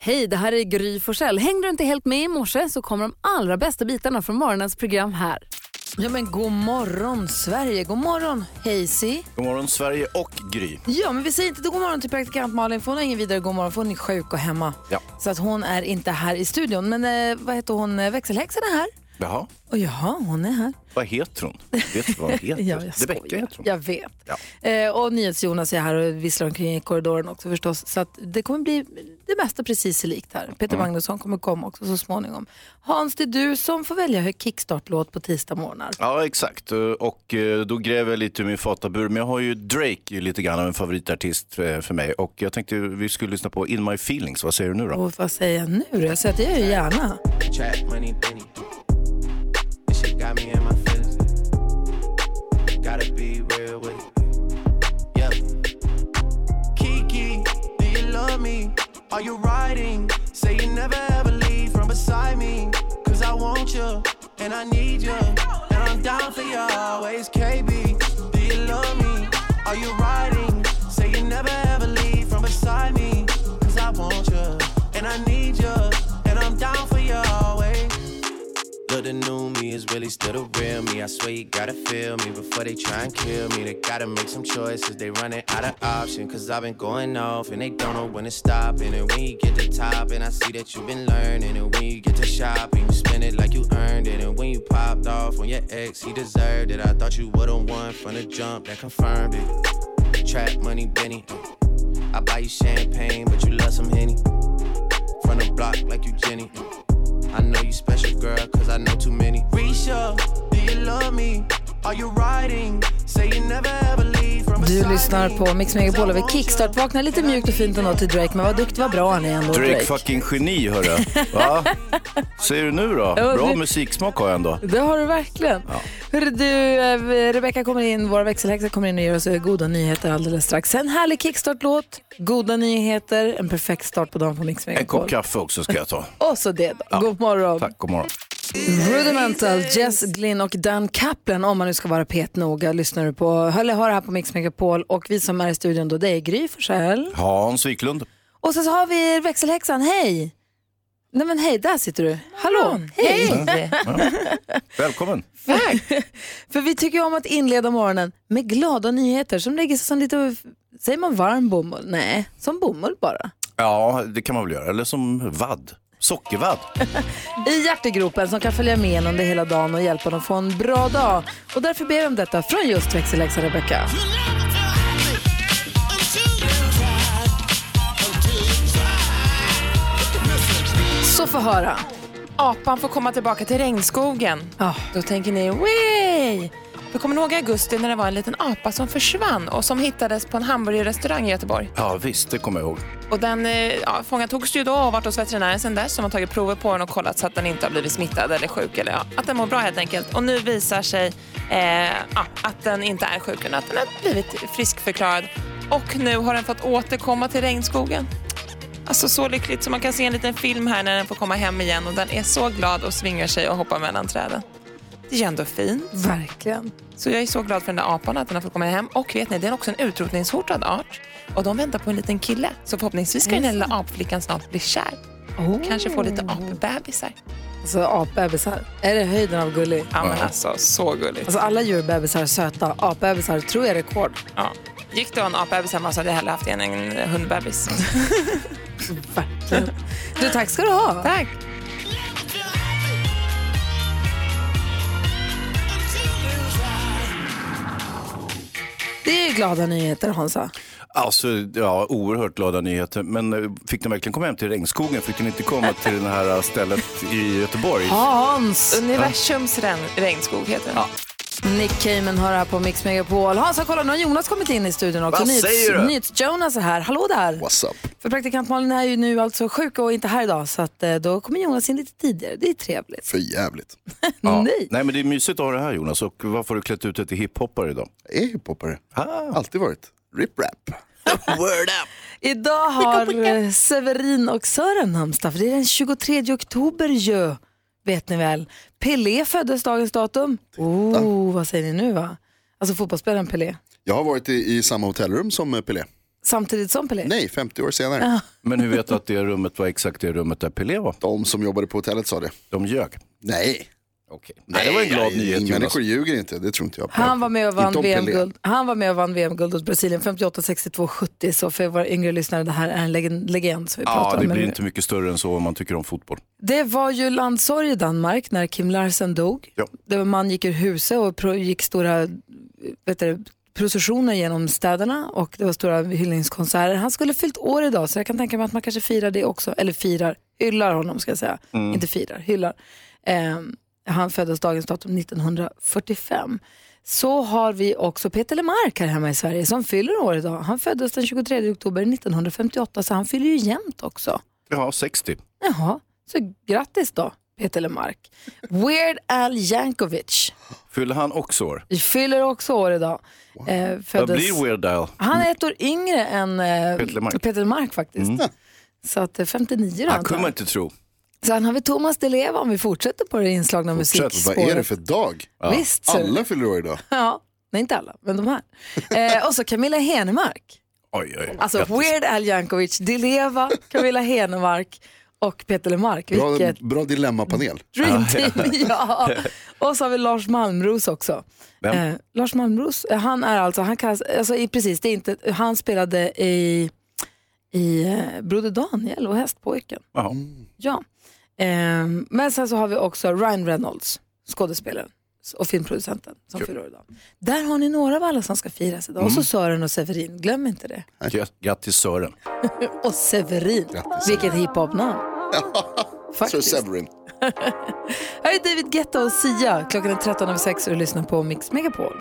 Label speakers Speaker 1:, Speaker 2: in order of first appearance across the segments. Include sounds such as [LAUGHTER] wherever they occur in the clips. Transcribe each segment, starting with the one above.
Speaker 1: Hej, det här är Gry Forssell. Hängde du inte helt med i morse så kommer de allra bästa bitarna från morgonens program här.
Speaker 2: Ja men god morgon Sverige, god morgon Hazy.
Speaker 3: God morgon Sverige och Gry.
Speaker 2: Ja men vi säger inte god morgon till praktikant Malin för hon har ingen vidare god morgon för hon är sjuk och hemma.
Speaker 3: Ja.
Speaker 2: Så att hon är inte här i studion. Men eh, vad heter hon, Eh, växelhäxan är här.
Speaker 3: Jaha,
Speaker 2: Och ja, hon är här.
Speaker 3: vad heter hon? Vet du vad hon
Speaker 2: [LAUGHS]
Speaker 3: heter?
Speaker 2: Ja, jag
Speaker 3: Rebecka
Speaker 2: skojar.
Speaker 3: heter hon.
Speaker 2: Jag vet.
Speaker 3: Ja.
Speaker 2: Eh, och NyhetsJonas är här och visslar omkring i korridoren också förstås. Så att det kommer bli det mesta precis likt här. Peter
Speaker 3: Mm.
Speaker 2: Magnusson kommer komma också så småningom. Hans, det är du som får välja hur kickstart-låt på tisdag morgnar.
Speaker 3: Ja, exakt. Och eh, då gräver jag lite ur min fatabur. Men jag har ju Drake är lite grann av en favoritartist eh, för mig. Och jag tänkte vi skulle lyssna på In My Feelings. Vad säger du nu då?
Speaker 2: Och vad säger jag nu då? Jag säger att det gör jag gärna.
Speaker 4: Trap money penny. This shit got me in my feelings. Gotta be real with it. Yeah. Kiki, do you love me? Are you riding? Say you never ever leave from beside me. Cause I want you and I need you. And I'm down for you always, KB. Do you love me? Are you riding? Say you never ever leave from beside me. Cause I want you and I need you. And I'm down for you always. Look, the new me is really still the real me. I swear you gotta feel me before they try and kill me. They gotta make some choices. They running out of options. Cause I've been going off and they don't know when to stop. And when you get to top, and I see that you've been learning. And when you get to shopping, you spend it like you earned it. And when you popped off on your ex, he deserved it. I thought you would've won from the jump that confirmed it. Trap money, Benny. I buy you champagne, but you love some Henny. From the block like you Jenny. I know you special, girl, cause I know too many. Risha, do you love me? Are you riding? Say you never ever leave from
Speaker 2: Du
Speaker 4: beside
Speaker 2: lyssnar
Speaker 4: me.
Speaker 2: på Mix Megapol över Kickstart. Vakna lite mjukt och fint ändå till Drake, men vad duktig, vad bra han är ändå,
Speaker 3: Drake
Speaker 2: Drake.
Speaker 3: fucking geni,
Speaker 2: [LAUGHS]
Speaker 3: hörru. Va? Säger du nu då?
Speaker 2: Ja,
Speaker 3: Bra
Speaker 2: du-
Speaker 3: musiksmak har jag ändå.
Speaker 2: Det har du verkligen. Hörru du, eh, Rebecca kommer in, vår växelhäxa kommer in och ger oss eh, goda nyheter alldeles strax. En härlig kickstart-låt, goda nyheter, en perfekt start på dagen på Mix
Speaker 3: En kopp
Speaker 2: Megapol.
Speaker 3: kaffe också ska jag
Speaker 2: [LAUGHS]
Speaker 3: ta.
Speaker 2: Och så det då. God morgon.
Speaker 3: Tack, god morgon.
Speaker 2: Rudimental, Jess Glynn och Dan Kaplan, om man nu ska vara petnoga, lyssnar du på, eller hör här på Mix Megapol. Och vi som är i studion då, det är Gry Forssell.
Speaker 3: Hans Wiklund.
Speaker 2: Och sen så har vi växelhäxan, hej! Nej men hej, där sitter du. Hallå, hej! [LAUGHS]
Speaker 3: Välkommen.
Speaker 2: För vi tycker ju om att inleda morgonen med glada nyheter som lägger sig som lite, säger man varm bomull? Nej, som bomull bara.
Speaker 3: Ja, det kan man väl göra. Eller som vadd. Sockervadd.
Speaker 2: I hjärtegropen som kan följa med en under hela dagen och hjälpa dem få en bra dag. Och därför ber vi om detta från just växelhäxan Rebecca. Så få höra.
Speaker 5: Apan får komma tillbaka till regnskogen.
Speaker 2: Ja.
Speaker 5: Då tänker ni, way! Du kommer ihåg i augusti när det var en liten apa som försvann och som hittades på en hamburgerrestaurang i Göteborg.
Speaker 3: Ja, visst, det kommer jag ihåg.
Speaker 5: Och den eh, ja, fången togs ju då och har varit hos veterinären sedan dess som har tagit prover på den och kollat så att den inte har blivit smittad eller sjuk eller ja, att den mår bra helt enkelt. Och nu visar sig eh, ja, att den inte är sjuk utan att den har blivit friskförklarad. Och nu har den fått återkomma till regnskogen. Alltså så lyckligt så man kan se en liten film här när den får komma hem igen och den är så glad och svingar sig och hoppar mellan träden. Det är ju ändå fint.
Speaker 2: Verkligen.
Speaker 5: Så jag är så glad för den där apan att den har fått komma hem. Och vet ni, det är också en utrotningshotad art. Och de väntar på en liten kille. Så förhoppningsvis ska den här lilla apflickan snart bli kär.
Speaker 2: Oh.
Speaker 5: Kanske få lite apbebisar.
Speaker 2: Alltså apbebisar. Är det höjden av gullig?
Speaker 5: Ja men alltså, så gulligt.
Speaker 2: Alltså alla djurbebisar är söta. Apbebisar tror jag är rekord.
Speaker 5: Ja. Gick det en apbebis hemma så hade jag hellre haft en, en hundbebis.
Speaker 2: [LAUGHS] Verkligen. Du, tack ska du ha.
Speaker 5: Tack!
Speaker 2: Det är ju glada nyheter Hansa.
Speaker 3: Alltså, ja, oerhört glada nyheter. Men eh, fick de verkligen komma hem till regnskogen? Fick de inte komma till det här eh, stället i Göteborg?
Speaker 2: Hans!
Speaker 5: Universums regn- regnskog heter den.
Speaker 2: Nick Cayman hör här på Mix Megapol. Hansa, kolla nu har Jonas kommit in i studion också.
Speaker 3: Vad säger du?
Speaker 2: Nyhets-Jonas är här. Hallå där!
Speaker 6: What's up?
Speaker 2: För praktikant Malin är ju nu alltså sjuk och inte här idag så att, eh, då kommer Jonas in lite tidigare. Det är trevligt.
Speaker 6: För jävligt.
Speaker 3: Ja.
Speaker 2: [LAUGHS] Nej.
Speaker 3: Nej, men det är mysigt att ha det här Jonas. Och varför har du klätt ut dig till hiphoppare Ah. idag?
Speaker 6: Jag är hiphopare. Alltid varit.
Speaker 2: [LAUGHS]
Speaker 6: Rip-rap.
Speaker 2: Idag har eh, Severin och Sören namnsdag för det är den 23 oktober ju. Vet ni väl? Pelé föddes dagens datum. Oh, vad säger ni nu va? Alltså fotbollsspelaren Pelé.
Speaker 6: Jag har varit i, i samma hotellrum som eh, Pelé.
Speaker 2: Samtidigt som Pelé?
Speaker 6: Nej, 50 år senare.
Speaker 3: Men hur vet du att det rummet var exakt det rummet där Pelé var?
Speaker 6: De som jobbade på hotellet sa det.
Speaker 3: De ljög.
Speaker 6: Nej,
Speaker 3: Okej. Nej, det var en glad
Speaker 6: nej,
Speaker 3: nyhet Jonas.
Speaker 6: Människor ljuger inte, det tror inte jag på.
Speaker 2: Han var med och vann
Speaker 6: Inte om Pelé.
Speaker 2: VM-guld. Han var med och vann VM-guld åt Brasilien 58, 62, 70. Så för våra yngre lyssnare, det här är en legend, legend som vi
Speaker 3: [LAUGHS]
Speaker 2: pratar
Speaker 3: Ja,
Speaker 2: om.
Speaker 3: det
Speaker 2: Men
Speaker 3: blir
Speaker 2: nu-
Speaker 3: inte mycket större än så om man tycker om fotboll.
Speaker 2: Det var ju landssorg i Danmark när Kim Larsen dog.
Speaker 3: Ja.
Speaker 2: Det var man gick ur huset och pro- gick stora vet du, processioner genom städerna och det var stora hyllningskonserter. Han skulle fyllt år idag så jag kan tänka mig att man kanske firar det också. Eller firar, hyllar honom ska jag säga. Inte firar, hyllar. Ehm, han föddes dagens datum 1945. Så har vi också Peter Lemark här hemma i Sverige som fyller år idag. Han föddes den 23 oktober 1958 så han fyller ju jämnt också.
Speaker 3: Ja, 60.
Speaker 2: Jaha, så grattis då Peter Lemark. Weird Al Yankovic
Speaker 3: Fyllde han också år?
Speaker 2: vi fyller också år idag. Eh,
Speaker 3: Vad
Speaker 2: föddes...
Speaker 3: blir Weird Al?
Speaker 2: Han är ett år yngre än eh,
Speaker 3: Peter Lemark.
Speaker 2: Peter Lemark faktiskt.
Speaker 6: Mm.
Speaker 2: Så att eh, 59
Speaker 6: Ah,
Speaker 2: då
Speaker 3: Han kunde man
Speaker 2: antar
Speaker 3: inte tro.
Speaker 2: jag. Sen har vi Thomas Di Leva om vi fortsätter på det inslagna
Speaker 6: Fortsätt, vad
Speaker 2: musikspåret.
Speaker 6: är det för dag?
Speaker 2: Visst, ser du.
Speaker 6: Alla fyller år idag.
Speaker 2: Ja, nej inte alla, men de här. Eh, och så Camilla Henemark.
Speaker 3: Oj, oj, oj.
Speaker 2: Alltså
Speaker 3: Grattis.
Speaker 2: Weird Al Yankovic, Di Leva, Camilla Henemark och Peter Lemark.
Speaker 6: Bra,
Speaker 2: Vilket
Speaker 6: bra dilemmapanel.
Speaker 2: Dream Team,
Speaker 6: [LAUGHS]
Speaker 2: ja. Och så har vi Lars Malmros också.
Speaker 3: Vem?
Speaker 2: Eh, Lars Malmros, eh, han är alltså, han kallas, alltså i- precis, det är inte, han spelade i, i eh, Broder Daniel och Hästpojken.
Speaker 3: Jaha.
Speaker 2: Ja. Eh, men sen så har vi också Ryan Reynolds, skådespelaren s- och filmproducenten som fyller år idag. Där har ni några av alla som ska firas idag. Och så Sören och Severin, glöm inte det. [LAUGHS]
Speaker 3: Grat- Grattis Sören.
Speaker 2: Och Severin,
Speaker 6: Grattis.
Speaker 2: vilket hiphop-namn.
Speaker 6: Sir
Speaker 2: Faktiskt.
Speaker 6: Severin.
Speaker 2: Här är David Guetta och Sia. Klockan är 13.06 och du lyssnar på Mix Megapol.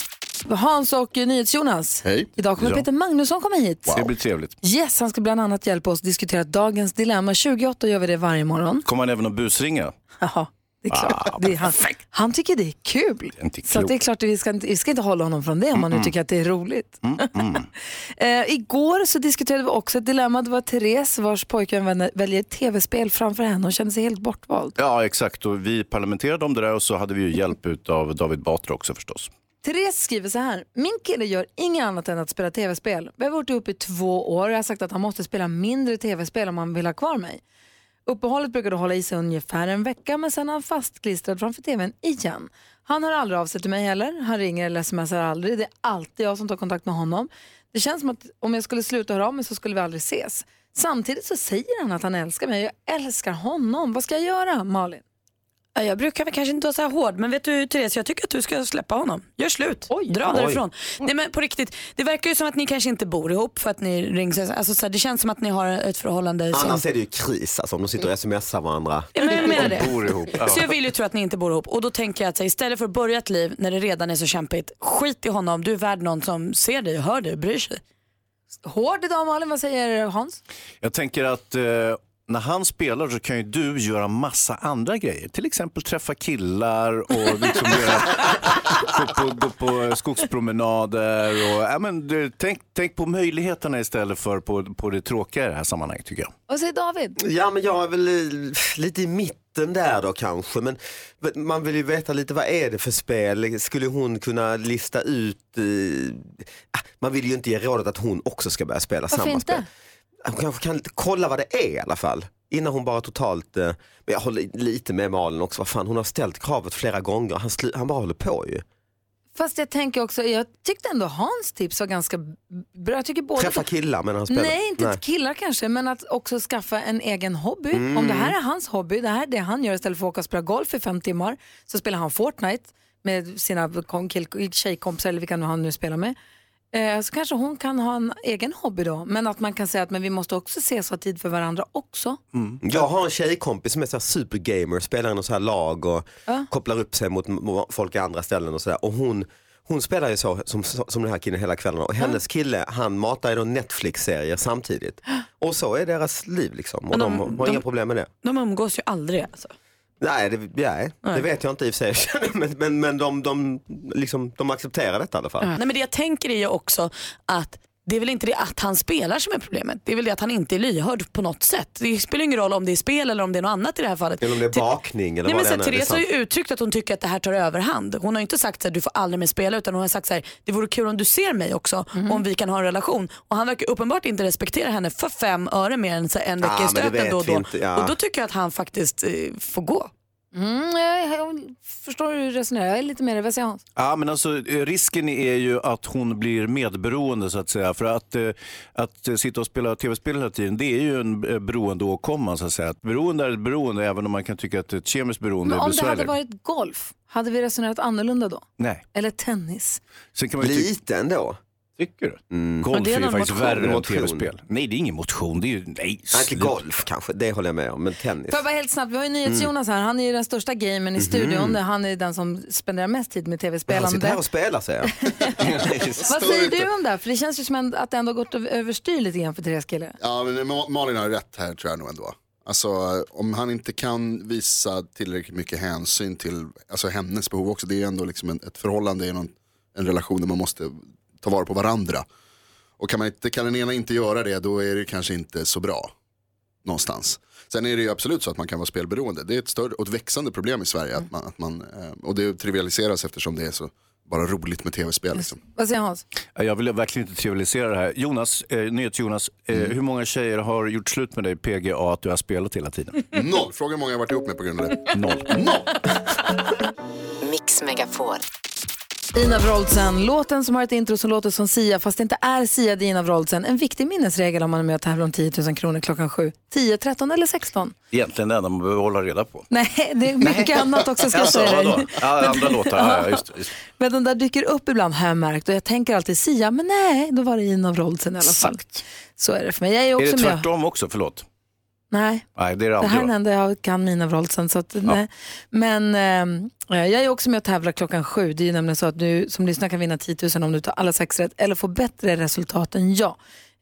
Speaker 2: Hans och NyhetsJonas.
Speaker 6: Hej.
Speaker 2: Idag kommer
Speaker 3: Ja.
Speaker 2: Peter Magnusson komma hit.
Speaker 3: Det blir trevligt.
Speaker 2: Yes, han ska bland annat hjälpa oss diskutera dagens dilemma. 28 gör vi det varje morgon.
Speaker 3: Kommer han även att busringa? Ah,
Speaker 2: Jaha, det är klart. det är han, han tycker det är kul.
Speaker 3: inte
Speaker 2: så att det är
Speaker 3: klokt.
Speaker 2: klart att vi ska, inte- vi ska inte hålla honom från det om han nu tycker att det är roligt. eh, igår så diskuterade vi också ett dilemma. Det var Therese vars pojkvän vän- väljer tv-spel framför henne. Hon känner sig helt bortvald.
Speaker 3: Ja, exakt. Och vi parlamenterade om det där och så hade vi ju hjälp av David Batra också förstås.
Speaker 2: Therese skriver så här. Min kille gör inget annat än att spela tv-spel. Vi har varit ihop i två år och jag har sagt att han måste spela mindre tv-spel om han vill ha kvar mig. Uppehållet brukade hålla i sig ungefär en vecka men sen är han fastklistrad framför tvn igen. Han hör aldrig av sig till mig heller. Han ringer eller smsar aldrig. Det är alltid jag som tar kontakt med honom. Det känns som att om jag skulle sluta höra av mig så skulle vi aldrig ses. Samtidigt så säger han att han älskar mig. Jag älskar honom. Vad ska jag göra, Malin?
Speaker 7: Ja, Jag brukar väl kanske inte vara så här hård, men vet du Therese, jag tycker att du ska släppa honom. Gör slut, dra därifrån. Nej men på riktigt, det verkar ju som att ni kanske inte bor ihop för att ni rings. Alltså, så här, det känns som att ni har ett förhållande som... Mm.
Speaker 8: Annars är det ju kris alltså, om de sitter och smsar varandra.
Speaker 7: Ja, men jag menar det.
Speaker 3: Bor ihop. Ja.
Speaker 7: Så jag vill ju tro att ni inte bor ihop och då tänker jag att så här, istället för att börja ett liv när det redan är så kämpigt, skit i honom, du är värd någon som ser dig, hör dig och bryr sig.
Speaker 2: Hård idag Malin, vad säger Hans?
Speaker 3: Jag tänker att eh, när han spelar så kan ju du göra massa andra grejer. Till exempel träffa killar och liksom göra, gå, på, gå på skogspromenader. Och, ja, men, du, tänk, tänk på möjligheterna istället för på, på det tråkiga i det här sammanhanget tycker jag.
Speaker 2: Vad säger David?
Speaker 8: Ja men jag är väl i- lite i mitten där då kanske men man vill ju veta lite vad är det för spel? Skulle hon kunna lista ut? eh, ah, Man vill ju inte ge rådet att hon också ska börja spela
Speaker 2: Varför
Speaker 8: samma
Speaker 2: inte?
Speaker 8: spel. Hon kanske kan lite kolla vad det är i alla fall. Innan hon bara totalt, eh, men jag håller lite med Malin också, vad fan hon har ställt kravet flera gånger, han, slu, han bara håller på ju.
Speaker 2: Fast jag tänker också, jag tyckte ändå Hans tips var ganska bra. Jag tycker både
Speaker 8: Träffa killar men han spelar.
Speaker 2: Nej, inte killar kanske, men att också skaffa en egen hobby. Om det här är hans hobby, det här är det han gör istället för att åka och spela golf i fem timmar, så spelar han Fortnite med sina kom- kill- tjejkompisar eller vilka nu han nu spelar med. Eh, så kanske hon kan ha en egen hobby då, men att man kan säga att men vi måste också ses och ha tid för varandra också.
Speaker 7: Mm.
Speaker 8: Jag har en tjejkompis som är så här supergamer, spelar i något så här lag och kopplar upp sig mot m- folk i andra ställen och sådär. Och hon, hon spelar ju så som, som den här killen hela kvällen och hennes kille han matar ju då Netflix-serier samtidigt. Och så är deras liv liksom och
Speaker 7: Men
Speaker 8: de,
Speaker 7: de-
Speaker 8: har
Speaker 7: de-
Speaker 8: inga problem med det.
Speaker 7: De umgås ju aldrig alltså.
Speaker 8: Nej, det, nej, det vet jag inte i och för sig. [LAUGHS] men men, men de, de, liksom, de accepterar detta i alla fall.
Speaker 7: Nej, men det jag tänker är ju också att Det är väl inte det att han spelar som är problemet. Det är väl det att han inte är lyhörd på något sätt. Det spelar ingen roll om det är spel eller om det är något annat i det här fallet.
Speaker 8: Eller om det är
Speaker 7: Till-
Speaker 8: bakning eller
Speaker 7: Nej, men
Speaker 8: vad det
Speaker 7: så
Speaker 8: än
Speaker 7: här,
Speaker 8: är,
Speaker 7: Therese
Speaker 8: det
Speaker 7: har
Speaker 8: är
Speaker 7: ju
Speaker 8: sant.
Speaker 7: uttryckt att hon tycker att det här tar överhand. Hon har ju inte sagt att du får aldrig mer spela utan hon har sagt så här, det vore kul om du ser mig också om vi kan ha en relation. Och han verkar uppenbart inte respektera henne för fem öre mer än så här en
Speaker 8: Ja,
Speaker 7: vecka i
Speaker 8: Ah, men det
Speaker 7: stöten
Speaker 8: vet
Speaker 7: då och
Speaker 8: vi
Speaker 7: då.
Speaker 8: inte, ja.
Speaker 7: Och då tycker jag att han faktiskt eh, får gå.
Speaker 2: Mm, jag, jag förstår hur du resonerar. Jag är lite mer, vad säger Hans?
Speaker 3: Ja, men alltså, eh, risken är ju att hon blir medberoende så att säga. För att, eh, att eh, sitta och spela tv-spel hela tiden, det är ju en eh, beroendeåkomma så att säga. Att beroende är ett beroende även om man kan tycka att ett kemiskt beroende
Speaker 2: Men
Speaker 3: är
Speaker 2: om det hade
Speaker 3: besvärligare.
Speaker 2: varit golf, hade vi resonerat annorlunda då?
Speaker 3: Nej,
Speaker 2: Eller tennis?
Speaker 3: sen kan man ju tycka...
Speaker 8: Liten då.
Speaker 3: Tycker du? Golf
Speaker 8: Mm.
Speaker 2: det är
Speaker 3: är ju
Speaker 2: någon
Speaker 3: faktiskt
Speaker 2: motion.
Speaker 3: värre än
Speaker 8: Motion.
Speaker 3: tv-spel. Nej, det är ingen motion. Det är ju... Nej,
Speaker 8: Nej, inte
Speaker 3: sluta.
Speaker 8: golf kanske, det håller jag med om. Men tennis.
Speaker 2: Får jag bara helt snabbt, vi har ju NyhetsJonas här. Han är ju den största gamern i studion. Han är den som spenderar mest tid med
Speaker 8: Han sitter
Speaker 2: tv-spelande.
Speaker 8: här och spelar säger jag.
Speaker 2: Vad säger du om det här? För det känns ju som en- att det ändå har gått över- överstyr lite grann för Therese kille.
Speaker 6: Ja, men Ma- Malin har rätt här tror jag nog ändå. Alltså om han inte kan visa tillräckligt mycket hänsyn till alltså, hennes behov också. Det är ju ändå liksom en, ett förhållande, det är någon, en relation där man måste ta vara på varandra. Och kan, man inte, kan den ena inte göra det då är det kanske inte så bra. Någonstans. Sen är det ju absolut så att man kan vara spelberoende. Det är ett större och ett växande problem i Sverige. Att man, att man, eh, och det trivialiseras eftersom det är så bara roligt med tv-spel. Liksom.
Speaker 2: Vad säger Hans?
Speaker 3: Ja, Jag vill verkligen inte trivialisera det här. Jonas, eh, nyhets Jonas, eh,
Speaker 6: Mm.
Speaker 3: hur många tjejer har gjort slut med dig PGA att du har spelat hela tiden?
Speaker 6: [LAUGHS] Noll, fråga hur många jag varit ihop med på grund av det.
Speaker 3: Noll.
Speaker 9: Mix Megapol.
Speaker 2: Ina Wroldsen, låten som har ett intro som låter som Sia fast det inte är Sia, det är Ina Wroldsen. En viktig minnesregel om man är med och tävlar om 10 000 kronor klockan 7. 10, 13 eller 16?
Speaker 3: Egentligen det enda man behöver hålla reda på.
Speaker 2: Nej, det är mycket annat också ska jag
Speaker 3: Alltså,
Speaker 2: säga
Speaker 3: vadå?
Speaker 2: dig.
Speaker 3: Ja, andra låtar. Ja, ja, just, det, just. det.
Speaker 2: Men den där dyker upp ibland har jag märkt och jag tänker alltid Sia, men nej, då var det Ina Wroldsen [LAUGHS] i alla fall. Så är det för mig. Jag är
Speaker 3: Är
Speaker 2: också
Speaker 3: det
Speaker 2: med.
Speaker 3: tvärtom också? Förlåt.
Speaker 2: Nej,
Speaker 3: Nej, det är det
Speaker 2: Det här
Speaker 3: aldrig.
Speaker 2: är den
Speaker 3: va?
Speaker 2: enda jag kan mina Wroldsen. Så att, nej. Men ehm, jag är också med och tävlar klockan sju. Det är ju nämligen så att du som lyssnar kan vinna 10 000 om du tar alla sex rätt eller får bättre resultat än jag.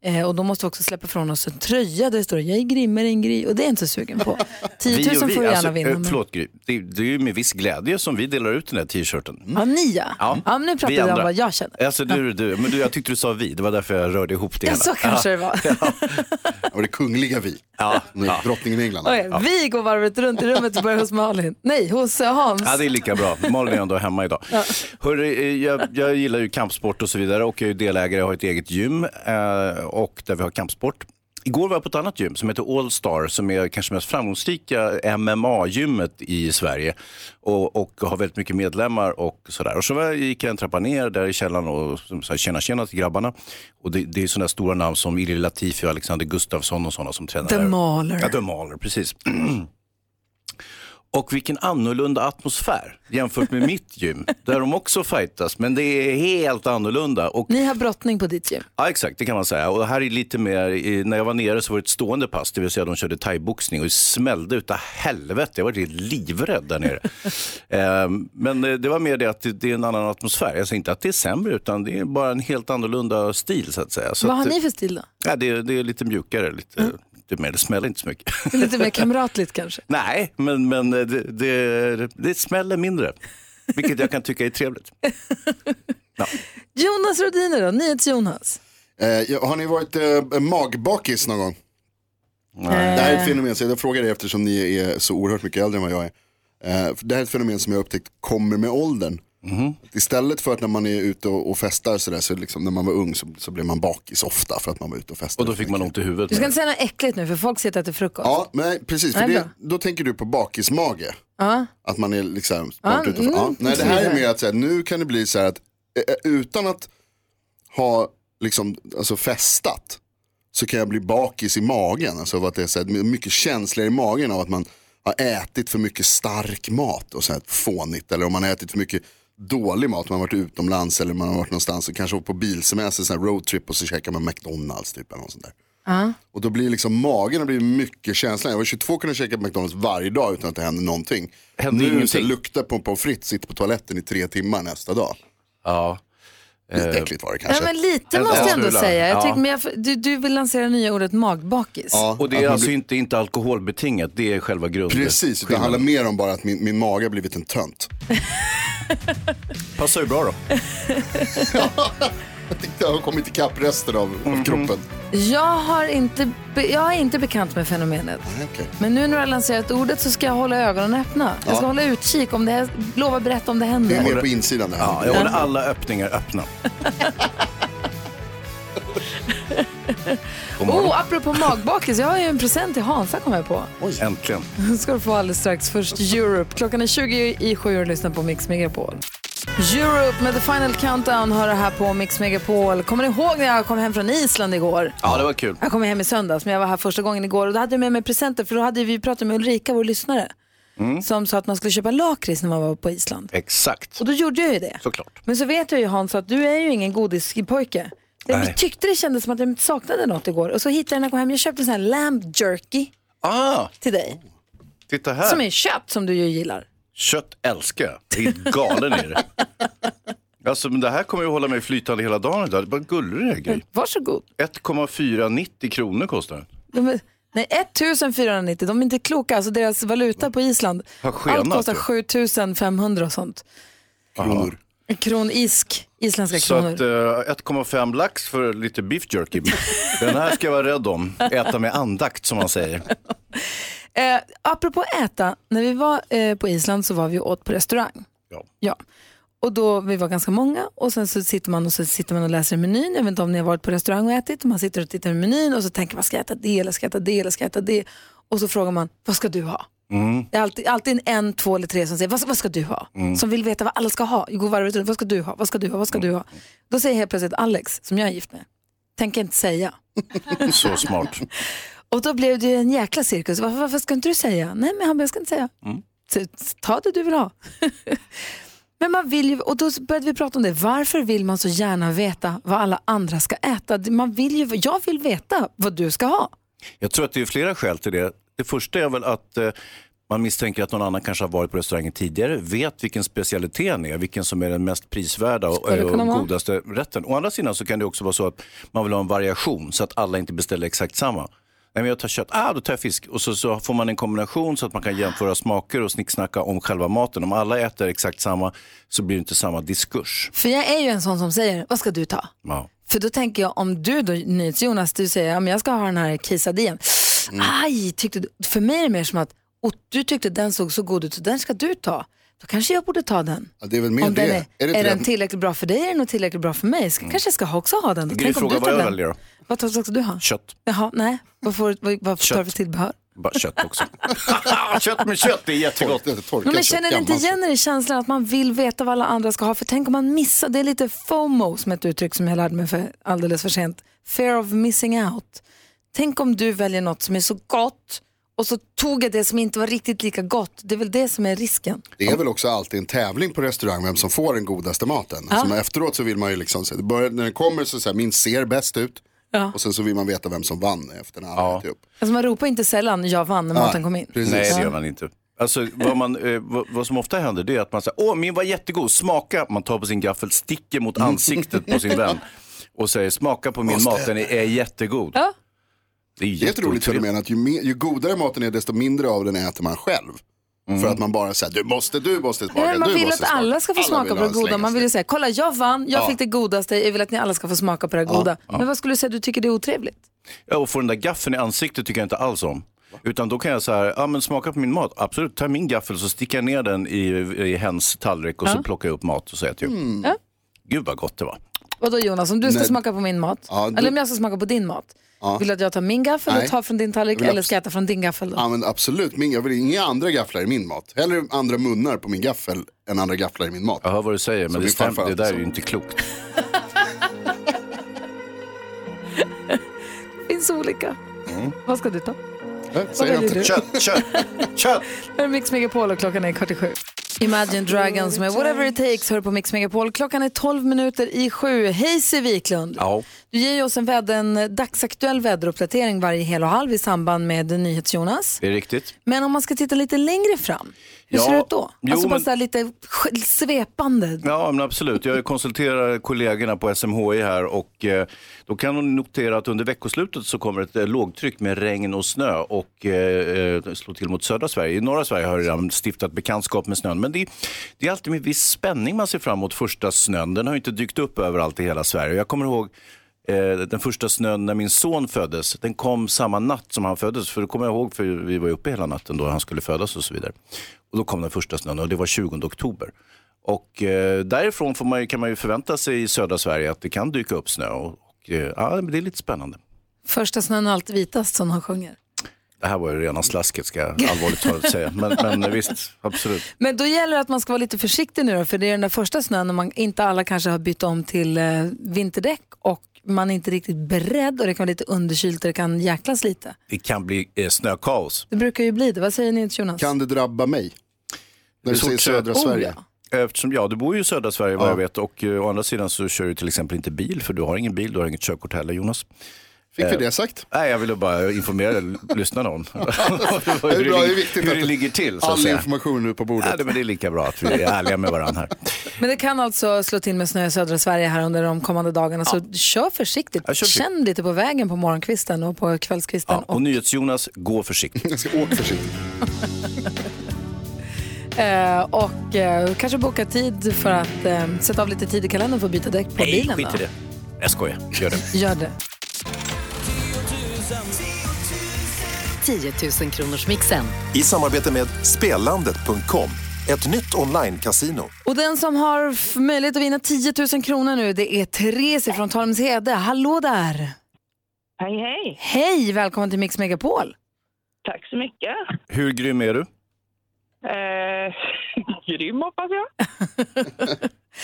Speaker 2: Eh, och då måste vi också släppa ifrån oss en tröja där det står jag är grimmare än Gry och det är jag inte så sugen på. 10
Speaker 3: [LAUGHS]
Speaker 2: 000
Speaker 3: Vi och vi,
Speaker 2: får du gärna
Speaker 3: alltså,
Speaker 2: vinna.
Speaker 3: eh, Förlåt Gry, det, det är ju med viss glädje som vi delar ut den här t-shirten.
Speaker 2: Men... Ja, ni ja.
Speaker 3: Ja.
Speaker 2: ja men nu pratar
Speaker 3: Vi
Speaker 2: vi om
Speaker 3: andra.
Speaker 2: vad jag känner.
Speaker 3: Alltså du, du, men du, jag tyckte du sa vi, det var därför jag rörde ihop det
Speaker 2: Ja,
Speaker 3: hela.
Speaker 2: så kanske det var.
Speaker 6: Och det kungliga vi.
Speaker 3: Ja.
Speaker 6: Med drottningen i England.
Speaker 2: Okej, Vi går varvet runt i rummet och börjar hos Malin. Nej, hos eh, Hans.
Speaker 3: Ja, det är lika bra. Malin är ändå hemma idag. Hörru, eh, jag, jag gillar ju kampsport och så vidare och jag är ju delägare, jag har ett eget gym eh, och där vi har kampsport. Igår var jag på ett annat gym som heter Allstar som är kanske mest framgångsrika MMA-gymmet i Sverige och, och har väldigt mycket medlemmar och sådär. Och så var jag, gick jag en trappa ner där i källaren och som så här, tjena tjena till grabbarna. Och det, det är sådana stora namn som Iril Latifi och Alexander Gustafsson och sådana som tränar
Speaker 2: The
Speaker 3: där.
Speaker 2: Mauler.
Speaker 3: Ja, The Mauler, precis. [CLEARS THROAT] Och vilken annorlunda atmosfär jämfört med mitt gym, där de också fightas, men det är helt annorlunda. Och,
Speaker 2: Ni har brottning på ditt gym.
Speaker 3: ja, exakt, det kan man säga. Och det här är lite mer, i- när jag var nere så var det ett stående pass, det vill säga de körde thaiboxning och det smällde utav helvete. Jag var helt livrädd där
Speaker 2: [LAUGHS]
Speaker 3: nere. Ehm, men eh, det var mer det att det, det är en annan atmosfär. Jag säger inte att det är sämre, utan det är bara en helt annorlunda stil så att säga. Så
Speaker 2: Vad har
Speaker 3: att, eh,
Speaker 2: ni för stil Mm. då?
Speaker 3: ja, det, är- det är lite mjukare, lite, lite mer, det smäller inte så mycket.
Speaker 2: Lite mer kamratligt kanske?
Speaker 3: Nej, men, men det, det, det smäller mindre. Vilket jag kan tycka är trevligt.
Speaker 2: Jonas Rhodiner då, NyhetsJonas.
Speaker 6: Eh, ja, har ni varit eh, magbakis någon gång? Det här är ett fenomen, så jag frågar er eftersom ni är så oerhört mycket äldre än vad jag är. Eh, för det här är ett fenomen som jag har upptäckt kommer med åldern.
Speaker 3: Mhm.
Speaker 6: Att Istället för att när man är ute och, och festar sådär, så liksom, när man var ung så, så blev man bakis ofta för att man var ute och
Speaker 3: Och
Speaker 6: festade.
Speaker 3: då fick man ont i huvudet.
Speaker 2: Du ska inte säga något äckligt nu för folk sitter och äter frukost.
Speaker 6: Ja, nej, precis. För
Speaker 2: Nej,
Speaker 6: det,
Speaker 2: bra.
Speaker 6: då tänker du på bakismage.
Speaker 2: Ja.
Speaker 6: Att man är liksom
Speaker 2: Ja,
Speaker 6: smart utanför. Ja.
Speaker 2: mm,
Speaker 6: Nej, det här är
Speaker 2: precis.
Speaker 6: mer att så här, nu kan det bli så här att eh, eh, utan att ha liksom, alltså festat så kan jag bli bakis i magen. Alltså av att det är så här, mycket känsligare i magen av att man har ätit för mycket stark mat och så här fånigt. Eller om man har ätit för mycket dålig mat, man har varit utomlands eller man har varit någonstans och kanske åkt på bilsemester, sån här roadtrip och så käkar man McDonalds typ eller något sånt där. Och då blir liksom magen har blivit mycket känsligare. Jag var 22 kunde käka på McDonalds varje dag utan att det hände någonting.
Speaker 3: Hände
Speaker 6: nu
Speaker 3: ingenting.
Speaker 6: så luktar på en pommes frites, sitter på toaletten i tre timmar nästa dag.
Speaker 3: Ja.
Speaker 6: Lite äckligt var det
Speaker 2: Ja,
Speaker 6: kanske.
Speaker 2: men lite
Speaker 3: en
Speaker 2: måste jag ändå
Speaker 3: smula.
Speaker 2: säga. Jag
Speaker 3: Ja.
Speaker 2: tyckte, men jag, du, du vill lansera nya ordet magbakis.
Speaker 6: Ja,
Speaker 3: Och det
Speaker 6: att
Speaker 3: är
Speaker 6: man
Speaker 3: alltså
Speaker 6: blir-
Speaker 3: inte, inte alkoholbetingat, det är själva grunden.
Speaker 6: Precis, det handlar mer om bara att min, min mage
Speaker 3: [LAUGHS]
Speaker 6: har blivit en tönt.
Speaker 3: Passar ju bra då.
Speaker 6: [LAUGHS] Jag tyckte jag har kommit ikapp resten av, av kroppen.
Speaker 3: Mhm.
Speaker 2: Jag, har inte be- jag är inte bekant med fenomenet.
Speaker 6: Nej, okej.
Speaker 2: Men nu när du har lanserat ordet så ska jag hålla ögonen öppna. Jag ska
Speaker 6: Ja.
Speaker 2: hålla utkik. Om det här, lova berätta om det händer.
Speaker 6: Det är mer på insidan där.
Speaker 3: Ja, jag håller alla öppningar
Speaker 2: [LAUGHS]
Speaker 3: öppna. God morgon.
Speaker 2: Oh, apropå magbakis, jag har ju en present till Hansa kom jag på.
Speaker 3: Äntligen.
Speaker 2: Den [LAUGHS] ska du få alldeles strax. Först Europe. Klockan är 20 i sju och lyssnar på Mix Megapol. Europe med The Final Countdown har det här på Mix Megapol. Kommer ni ihåg när jag kom hem från Island igår?
Speaker 3: Ja, det var kul.
Speaker 2: Jag kom hem i söndags, men jag var här första gången igår och då hade jag med mig presenter för då hade vi pratat med Ulrika, vår lyssnare,
Speaker 3: Mm.
Speaker 2: som sa att man skulle köpa lakrits när man var på Island.
Speaker 3: Exakt.
Speaker 2: Och då gjorde jag ju det.
Speaker 3: Såklart.
Speaker 2: Men så vet jag ju Hans att du är ju ingen godispojke.
Speaker 3: Nej.
Speaker 2: Jag tyckte det kändes som att jag saknade något igår och så hittade jag när jag kom hem, jag köpte en sån här lamb jerky
Speaker 3: Ah,
Speaker 2: till dig.
Speaker 3: titta här.
Speaker 2: Som är köpt som du ju gillar.
Speaker 3: Kött älskar jag. Det är helt galen i
Speaker 2: [LAUGHS]
Speaker 3: det. Alltså, men det här kommer ju hålla mig flytande hela dagen idag. Det är bara en gullig grej.
Speaker 2: Varsågod.
Speaker 3: 1,490 kronor kostar den.
Speaker 2: De är, nej, 1490, de är inte kloka. Alltså deras valuta på Island,
Speaker 3: Har skenat,
Speaker 2: allt kostar
Speaker 3: du.
Speaker 2: 7500 och sånt.
Speaker 6: Kronor.
Speaker 2: Kronisk, isländska
Speaker 3: Så
Speaker 2: kronor.
Speaker 3: att eh, 1,5 lax för lite beef jerky. Den här ska jag vara rädd om. Äta med andakt som man säger.
Speaker 2: Eh, apropå äta, när vi var eh, på Island så var vi och åt på restaurang.
Speaker 3: Ja.
Speaker 2: Och då, vi var ganska många och sen så sitter man och, så sitter man och läser i menyn. Jag vet inte om ni har varit på restaurang och ätit. Man sitter och tittar i menyn och så tänker man, ska jag äta det eller ska jag äta det eller ska jag äta det? Och så frågar man, vad ska du ha?
Speaker 3: Mm.
Speaker 2: Det är alltid, alltid en, två eller tre som säger, vad, ska- vad ska du ha? Som vill veta vad alla ska ha. Jag går varvet runt, vad ska du ha? Vad ska du ha? Vad ska du ha? Då säger helt plötsligt Alex, som jag är gift med, tänker inte säga.
Speaker 3: Så smart.
Speaker 2: Och då blev det ju en jäkla cirkus. Varför, varför ska inte du säga? Nej, men han bara, jag ska inte säga.
Speaker 6: Mm.
Speaker 2: Så, ta det du vill ha. [LAUGHS] men man vill ju, och då började vi prata om det. Varför vill man så gärna veta vad alla andra ska äta? Man vill ju, jag vill veta vad du ska ha.
Speaker 3: Jag tror att det är flera skäl till det. Det första är väl att eh, man misstänker att någon annan kanske har varit på restaurangen tidigare, vet vilken specialiteten är, vilken som är den mest prisvärda och,
Speaker 2: Skulle det
Speaker 3: eh,
Speaker 2: kunna
Speaker 3: och
Speaker 2: vara.
Speaker 3: godaste rätten. Å andra sidan så kan det också vara så att man vill ha en variation så att alla inte beställer exakt samma. Nej, men jag tar kött, ah, då tar jag fisk. Och så, så får man en kombination så att man kan jämföra smaker och snicksnacka om själva maten. Om alla äter exakt samma så blir det inte samma diskurs.
Speaker 2: För jag är ju en sån som säger, vad ska du ta?
Speaker 3: Ja.
Speaker 2: För då tänker jag om du då, NyhetsJonas, du säger ja, men jag ska ha den här quesadillan.
Speaker 3: Mm.
Speaker 2: Aj, tyckte du. För mig är det mer som att och du tyckte den såg så god ut så den ska du ta. Då kanske jag borde ta den.
Speaker 6: Ja, det är väl mer
Speaker 2: om
Speaker 6: det.
Speaker 2: Den
Speaker 6: Är
Speaker 2: är,
Speaker 6: det inte
Speaker 2: är
Speaker 6: det?
Speaker 2: den tillräckligt bra för dig är den nog tillräckligt bra för mig. Ska, Kanske jag ska ha- också ha den. Då.
Speaker 3: Mm. Gry
Speaker 2: Tänk om
Speaker 3: frågar
Speaker 2: du
Speaker 3: vad
Speaker 2: tar
Speaker 3: jag
Speaker 2: den.
Speaker 3: väljer då.
Speaker 2: Vad tar- ska du ha?
Speaker 3: Kött.
Speaker 2: Jaha, nej. Vad, får, vad, vad tar du
Speaker 3: Kött.
Speaker 2: för tillbehör?
Speaker 3: Bara kött
Speaker 6: [LAUGHS]
Speaker 3: också. [LAUGHS] kött med kött, det är jättegott.
Speaker 6: Torkat, torkat
Speaker 2: Nej, men
Speaker 6: kött,
Speaker 2: känner ni inte
Speaker 6: gammalt.
Speaker 2: igen er i känslan att man vill veta vad alla andra ska ha? För tänk om man missar, det är lite FOMO som är ett uttryck som jag lärde mig för alldeles för sent. Fear of missing out. Tänk om du väljer något som är så gott och så tog jag det som inte var riktigt lika gott. Det är väl det som är risken.
Speaker 6: Det är väl också alltid en tävling på restaurang vem som får den godaste maten. Så man- efteråt så vill man ju liksom, så det börjar, när den kommer så, så här, min ser bäst ut. Och sen så vill man veta vem som vann efter typ. när alla ja. ätit upp.
Speaker 2: Alltså man ropar inte sällan jag vann när maten kom in.
Speaker 6: Precis.
Speaker 3: Nej, det gör man inte. Alltså, vad, man, eh, vad, vad som ofta händer det är att man säger, åh min var jättegod, smaka. Man tar på sin gaffel, sticker mot ansiktet på sin vän och säger, smaka på min
Speaker 6: Måste.
Speaker 3: mat, den är, är jättegod.
Speaker 2: Ja.
Speaker 3: Det är
Speaker 6: Det är ett roligt
Speaker 3: jätteotrevligt.
Speaker 6: fenomen att ju, mer, ju godare maten är desto mindre av den äter man själv.
Speaker 3: Mm.
Speaker 6: För att man bara säger du måste, du måste smaka,
Speaker 2: Nej, man
Speaker 6: du
Speaker 2: vill
Speaker 6: måste
Speaker 2: att alla ska få
Speaker 6: Alla
Speaker 2: smaka
Speaker 6: vill
Speaker 2: på det
Speaker 6: ha en
Speaker 2: goda.
Speaker 6: släng
Speaker 2: Man vill ju
Speaker 6: av
Speaker 2: säga, kolla jag vann, jag
Speaker 6: Ja.
Speaker 2: fick det godaste, jag vill att ni alla ska få smaka på det goda. Men vad skulle du säga du tycker det är otrevligt?
Speaker 3: Ja, och få den där gaffeln i ansiktet tycker jag inte alls om. Utan då kan jag så här, ja men smaka på min mat, absolut, ta min gaffel så sticker jag ner den i, i hens tallrik och så plockar jag upp mat och så äter jag.
Speaker 2: Ja.
Speaker 3: Gud vad gott det var.
Speaker 2: Vadå Jonas, om du ska
Speaker 6: Nej.
Speaker 2: smaka på min mat,
Speaker 6: Ja, du-
Speaker 2: eller om jag ska smaka på din mat, vill du att jag tar min gaffel och
Speaker 6: Nej.
Speaker 2: tar från din tallrik
Speaker 6: Jag vill
Speaker 2: eller ska jag äta från din gaffel då?
Speaker 6: Ja men absolut, min, jag vill inga andra gafflar i min mat. Hellre andra munnar på min gaffel än andra gafflar i min mat.
Speaker 3: Jag hör vad du säger, men det,
Speaker 6: min
Speaker 3: stämmer,
Speaker 6: farfar
Speaker 3: det där är
Speaker 6: alltid
Speaker 3: ju
Speaker 6: sa.
Speaker 3: inte klokt.
Speaker 2: Det finns olika. Vad ska du ta?
Speaker 6: Äh, Mm. säger jag
Speaker 3: [LAUGHS]
Speaker 2: väljer
Speaker 6: inte.
Speaker 2: du?
Speaker 3: Kött, kött, kött!
Speaker 2: [LAUGHS] Det är Mix Megapol och klockan är kvart i sju. Imagine Dragons med Whatever It Takes hör på Mix Megapol. Klockan är 12 minuter i sju. Hej Siw Wiklund!
Speaker 3: Ja.
Speaker 2: Du ger ju oss en, väd- en dagsaktuell väderuppdatering varje hel och halv i samband med NyhetsJonas.
Speaker 3: Det är riktigt.
Speaker 2: Men om man ska titta lite längre fram, hur
Speaker 3: Ja,
Speaker 2: ser det ut då?
Speaker 3: jo,
Speaker 2: Alltså bara
Speaker 3: men-
Speaker 2: så här lite sk- svepande.
Speaker 3: Ja, men absolut. Jag konsulterar kollegorna på SMHI här och eh, då kan hon notera att under veckoslutet så kommer ett eh, lågtryck med regn och snö och eh, eh, slå till mot södra Sverige. I norra Sverige har jag redan stiftat bekantskap med snön, men Men det, det är alltid med viss spänning man ser fram emot första snön. Den har ju inte dykt upp överallt i hela Sverige. Jag kommer ihåg eh, den första snön när min son föddes. Den kom samma natt som han föddes. För det kommer jag ihåg, för vi var ju uppe hela natten då han skulle födas och så vidare. Och då kom den första snön och det var 20 oktober. Och eh, därifrån får man ju, kan man ju förvänta sig i södra Sverige att det kan dyka upp snö. Och, och, eh, ja, men det är lite spännande.
Speaker 2: Första snön är alltid vitast som han sjunger.
Speaker 3: Det här var ju rena slasket ska jag allvarligt talat säga. Men, men visst, absolut.
Speaker 2: Men då gäller det att man ska vara lite försiktig nu då, för det är den där första snön när man inte alla kanske har bytt om till eh, vinterdäck och man är inte riktigt beredd och det kan vara lite underkylt och det kan jäklas lite.
Speaker 3: Det kan bli eh, snökaos.
Speaker 2: Det brukar ju bli det. Vad säger ni till Jonas?
Speaker 6: Kan det drabba mig? När du
Speaker 3: Det är
Speaker 6: säger
Speaker 3: så trött.
Speaker 6: södra
Speaker 3: Oh,
Speaker 6: Sverige.
Speaker 3: Eftersom, ja, du bor ju i södra Sverige vad jag vet och eh, å andra sidan så kör du till exempel inte bil för du har ingen bil, du har inget körkort heller Jonas. Eh,
Speaker 6: Fick vi det sagt?
Speaker 3: Nej, jag ville bara informera lyssnarna om
Speaker 6: [LAUGHS] Det är
Speaker 3: hur,
Speaker 6: bra, det är
Speaker 3: det,
Speaker 6: viktigt
Speaker 3: ligger- hur
Speaker 6: att-
Speaker 3: det ligger till. Så att
Speaker 6: All
Speaker 3: säga.
Speaker 6: information nu på
Speaker 3: Nej,
Speaker 6: bordet.
Speaker 3: det- men det är lika bra att vi är ärliga med varandra
Speaker 6: [LAUGHS]
Speaker 3: här.
Speaker 2: Men det kan alltså slå till med snö i södra Sverige här under de kommande dagarna, så kör försiktigt.
Speaker 3: Jag kör försiktigt.
Speaker 2: Känn lite på vägen på morgonkvisten och på kvällskvisten.
Speaker 3: Ja, och NyhetsJonas, gå försiktigt.
Speaker 6: Jag ska åka försiktigt.
Speaker 2: Eh, och eh, kanske boka tid för att eh, sätta av lite tid i kalendern för att byta däck på
Speaker 3: Nej,
Speaker 2: bilen.
Speaker 3: skit i
Speaker 2: då.
Speaker 3: det. Jag skojar, gör det.
Speaker 2: Gör det.
Speaker 9: 10 000 kronors mixen.
Speaker 10: I samarbete med Spelandet.com, ett nytt online-casino.
Speaker 2: Och den som har f- möjlighet att vinna 10 000 kronor nu, det är Therese från Tormshede. Hallå där!
Speaker 11: Hej, hej.
Speaker 2: Hej, välkommen till Mix Megapol.
Speaker 11: Tack så mycket.
Speaker 3: Hur grym är du?
Speaker 11: Eh, [LAUGHS] grym, hoppas jag.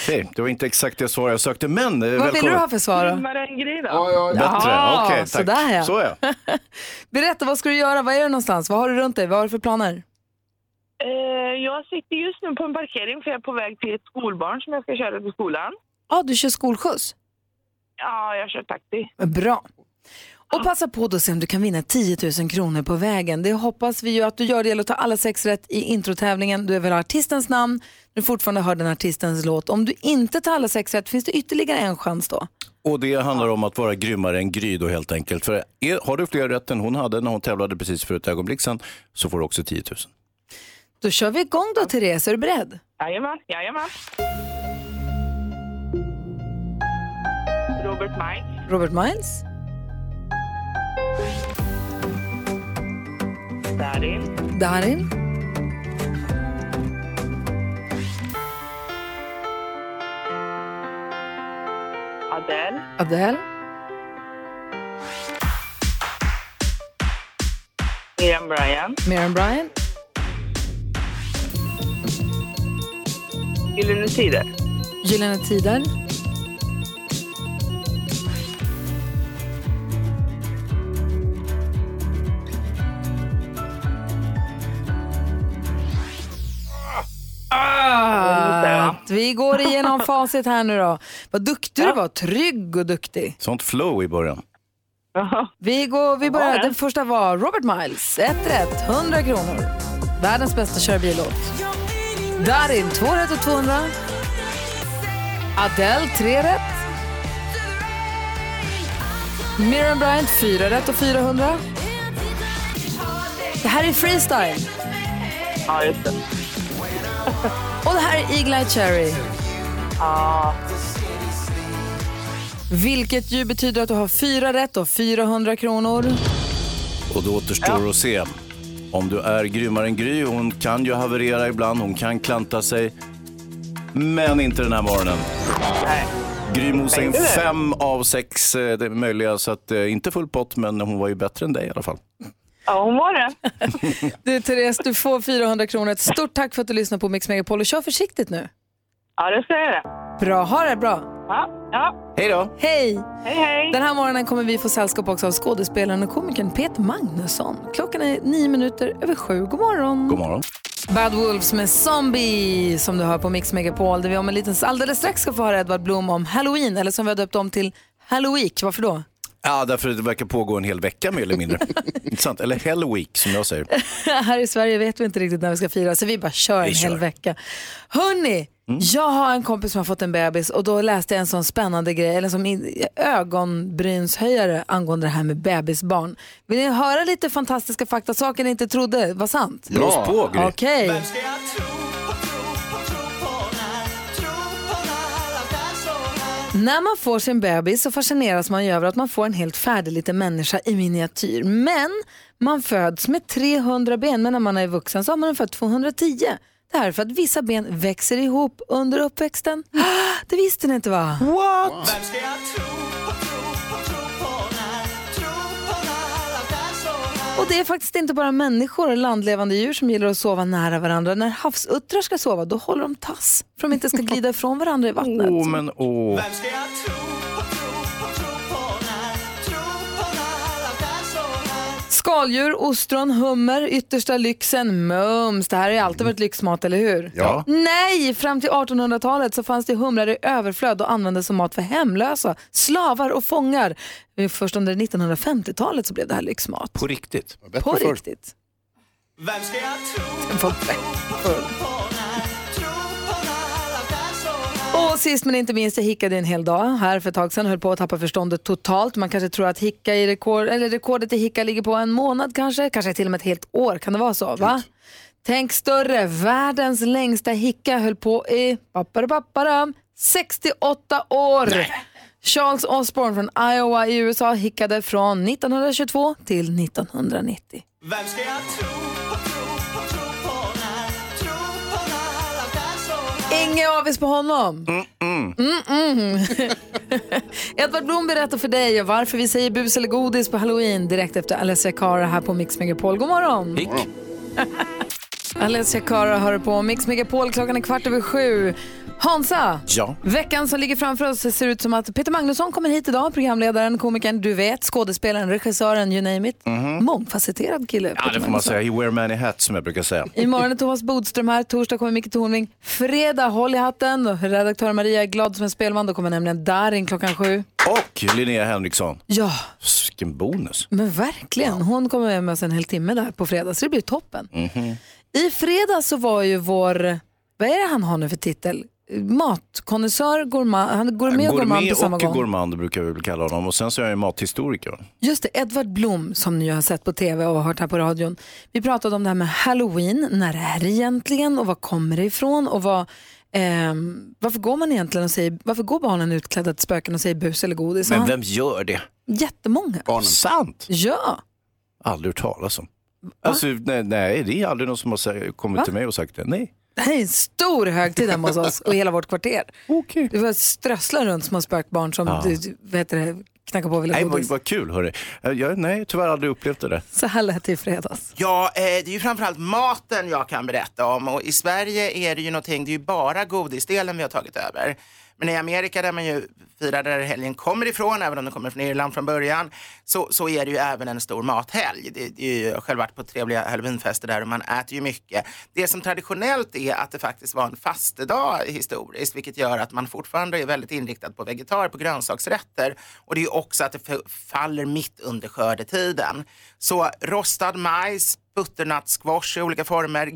Speaker 3: Okej, det var inte exakt det svar jag sökte, men eh,
Speaker 2: Vad vill du
Speaker 3: välkommen.
Speaker 2: ha för svar då?
Speaker 11: Grymmare än Gry då.
Speaker 6: Ja, ja,
Speaker 3: Bättre,
Speaker 2: Jaha,
Speaker 3: okej, tack.
Speaker 2: sådär ja.
Speaker 3: Så ja.
Speaker 2: [LAUGHS] Berätta, vad ska du göra? Vad är du någonstans? Vad har du runt dig? Vad har du för planer?
Speaker 11: Eh, jag sitter just nu på en parkering för jag är på väg till ett skolbarn som jag ska köra till skolan.
Speaker 2: Ja, du kör skolskjuts.
Speaker 11: Ja, jag kör taxi.
Speaker 2: Bra. Och passa på då att se om du kan vinna 10 000 kronor på vägen. Det hoppas vi ju att du gör. Det gäller att ta alla sex rätt i introtävlingen. Du vill ha artistens namn, du fortfarande hör den artistens låt. Om du inte tar alla sex rätt finns det ytterligare en chans då.
Speaker 3: Och det handlar om att vara grymmare än Gry då helt enkelt. För är, har du fler rätt än hon hade när hon tävlade precis för ett ögonblick sedan så får du också 10 000.
Speaker 2: Då kör vi igång då Therese, är du beredd?
Speaker 11: Jajamän, jajamän. Robert Miles,
Speaker 2: Robert Miles,
Speaker 11: Darin,
Speaker 2: Darin,
Speaker 11: Adele,
Speaker 2: Adele,
Speaker 11: Miriam Bryant,
Speaker 2: Miriam Bryant,
Speaker 11: Gyllene Tider,
Speaker 2: Gyllene Tider,
Speaker 11: ja.
Speaker 2: Vi går igenom facit här nu då. Vad duktig du var, trygg och duktig.
Speaker 3: Sånt flow i början.
Speaker 2: Vi, går, vi börjar,
Speaker 11: var det?
Speaker 2: den första var Robert Miles, ett rätt, 100 kronor. Världens bästa körbillåt. Darin, två rätt och 200. Adele, tre rätt. Miriam Bryant, fyra rätt och 400. Det här är freestyle.
Speaker 11: ja, just det.
Speaker 2: [LAUGHS] Och det här är Eagle Eye Cherry.
Speaker 11: Ja,
Speaker 2: Vilket ju betyder att du har fyra rätt och 400 kronor.
Speaker 3: Och det återstår att se om du är grymmare än Gry. Hon kan ju haverera ibland, hon kan klanta sig. Men inte den här morgonen.
Speaker 11: nej.
Speaker 3: Gry mosade in
Speaker 11: Tänkte det.
Speaker 3: fem av sex eh, det möjliga, så att, eh, inte full pott, men hon var ju bättre än dig i alla fall.
Speaker 11: ja, hon var det.
Speaker 2: [LAUGHS] Du Therese, du får 400 kronor. Ett stort tack för att du lyssnar på Mix Megapol och kör försiktigt nu.
Speaker 11: Ja, det ska jag göra.
Speaker 2: Bra, ha det bra.
Speaker 11: Ja, ja.
Speaker 3: Hej då!
Speaker 2: Hej!
Speaker 11: Hej, hej.
Speaker 2: Den här morgonen kommer vi få sällskap också av skådespelaren och komikern Peter Magnusson. Klockan är nio minuter över sju. God morgon!
Speaker 3: God morgon.
Speaker 2: Bad Wolves med Zombie som du hör på Mix Megapol där vi om en liten alldeles strax ska få höra Edvard Blom om Halloween eller som vi har döpt om till Halloween. Varför då?
Speaker 3: Ja, därför det verkar pågå en hel vecka mer eller mindre. Intressant. Eller Hell Week som jag säger.
Speaker 2: [LAUGHS] här i Sverige vet vi inte riktigt när vi ska fira så vi bara kör en
Speaker 3: Vi
Speaker 2: hel
Speaker 3: kör. Mm.
Speaker 2: vecka. Hörni, jag har en kompis som har fått en bebis och då läste jag en sån spännande grej, eller som in- ögonbrynshöjare angående det här med bebisbarn. Vill ni höra lite fantastiska fakta, saker ni inte trodde var sant?
Speaker 3: Blås på Gry.
Speaker 2: Okej.
Speaker 4: Ska jag tro på tro
Speaker 2: När man får sin bebis så fascineras man ju över att man får en helt färdig liten människa i miniatyr. Men man föds med 300 ben, men när man är vuxen så har man ungefär 210. Det här är för att vissa ben växer ihop under uppväxten. [GASPS] Det visste ni inte va?
Speaker 4: Vem ska jag tro på, tro på, tro på när? Tro på när allt är så här?
Speaker 2: Och det är faktiskt inte bara människor och landlevande djur som gillar att sova nära varandra. När havsuttrar ska sova, då håller de tass för att de
Speaker 3: [LAUGHS]
Speaker 2: inte ska glida ifrån varandra i vattnet.
Speaker 3: Åh, men åh.
Speaker 4: Vem ska jag tro på, tro på, tro på när? Tro på när allt är så här?
Speaker 2: Skaldjur, ostron, hummer, yttersta lyxen, mums. Det här har ju alltid varit lyxmat, eller hur?
Speaker 4: Ja.
Speaker 2: Nej, fram till 1800-talet så fanns det humrar i överflöd och användes som mat för hemlösa, slavar och fångar. Först under 1950-talet så blev det här lyxmat.
Speaker 3: På riktigt?
Speaker 2: På riktigt.
Speaker 4: Vem ska jag tro
Speaker 2: på,
Speaker 4: tro på när? Tro på när allt är så här?
Speaker 2: Och sist men inte minst, jag hickade en hel dag här för ett tag sedan. Höll på att tappa förståndet totalt. Man kanske tror att hicka i rekord, eller rekordet i hicka ligger på en månad kanske. Kanske till och med ett helt år. Kan det vara så? Va? Tänk större. Världens längsta hicka höll på i papparapaparam, 68 år. Charles Osborne från Iowa i USA hickade från 1922 till 1990.
Speaker 4: Vem ska jag tro på, tro på, tro på när? Tro på när allt är så här?
Speaker 2: Inget avis på honom.
Speaker 4: Mm.
Speaker 2: Mm-mm. [LAUGHS] Edvard Blom berättar för dig varför vi säger bus eller godis på halloween direkt efter Alessia Cara här på Mix Megapol. God morgon!
Speaker 3: [LAUGHS]
Speaker 2: Alessia Cara hör på Mix Megapol. Klockan är kvart över sju. Hansa!
Speaker 3: Ja.
Speaker 2: Veckan som ligger framför oss ser ut som att Peter Magnusson kommer hit idag. Programledaren, komikern, du vet, skådespelaren, regissören, you name it. Mångfacetterad kille.
Speaker 3: Mhm. Ja,
Speaker 2: Peter
Speaker 3: det får man
Speaker 2: Magnusson.
Speaker 3: säga. He wear many hats som jag brukar säga.
Speaker 2: Imorgon är Thomas Bodström här, torsdag kommer Micke Tornving, fredag håll i hatten. Och Redaktör Maria är glad som en spelman, då kommer nämligen Darin klockan sju.
Speaker 3: Och Linnea Henriksson.
Speaker 2: Ja,
Speaker 3: Vilken bonus.
Speaker 2: men verkligen. Hon kommer med oss en hel timme där på fredag, så det blir toppen.
Speaker 3: Mhm.
Speaker 2: I fredag så var ju vår, vad är det han har nu för titel? Matkonnässör, gourmand, han går med och gourmand
Speaker 3: Gourmet
Speaker 2: på samma
Speaker 3: och
Speaker 2: gång.
Speaker 3: gourmand brukar vi väl kalla honom. Och sen så är jag ju mathistoriker.
Speaker 2: Just det, Edvard Blom som ni har sett på tv och hört här på radion. Vi pratade om det här med halloween, när det är det egentligen och var kommer det ifrån och vad, ehm, varför går man egentligen och säger, varför går barnen utklädda till spöken och säger bus eller godis?
Speaker 3: Men
Speaker 2: Han-
Speaker 3: vem gör det?
Speaker 2: Jättemånga.
Speaker 3: Barnen. Sant?
Speaker 2: Ja.
Speaker 3: Aldrig hört talas om. Alltså, nej, nej, det är aldrig någon som har sä- kommit
Speaker 2: Va?
Speaker 3: till mig och sagt det. Nej.
Speaker 2: Det här är en stor högtid hemma hos oss och i hela vårt kvarter.
Speaker 3: Okay.
Speaker 2: Det var strösslar runt små spökbarn som
Speaker 3: Ja.
Speaker 2: du, du- vad heter det, knackar på och vill ha
Speaker 3: Nej, vad,
Speaker 2: godis.
Speaker 3: vad kul hörru. Eh, Jag, nej, tyvärr aldrig upplevt det där.
Speaker 2: Så här lät det i fredags.
Speaker 12: Ja, eh, det är ju framförallt maten jag kan berätta om och i Sverige är det ju någonting, det är ju bara godisdelen vi har tagit över. Men i Amerika där man ju firar där helgen kommer ifrån, även om den kommer från Irland från början, så, så är det ju även en stor mathelg. Det, det är ju, jag har själv varit på trevliga halloweenfester där och man äter ju mycket. Det som traditionellt är att det faktiskt var en fastedag historiskt, vilket gör att man fortfarande är väldigt inriktad på vegetar, på grönsaksrätter. Och det är ju också att det f- faller mitt under skördetiden. Så rostad majs, butternuttsquash i olika former,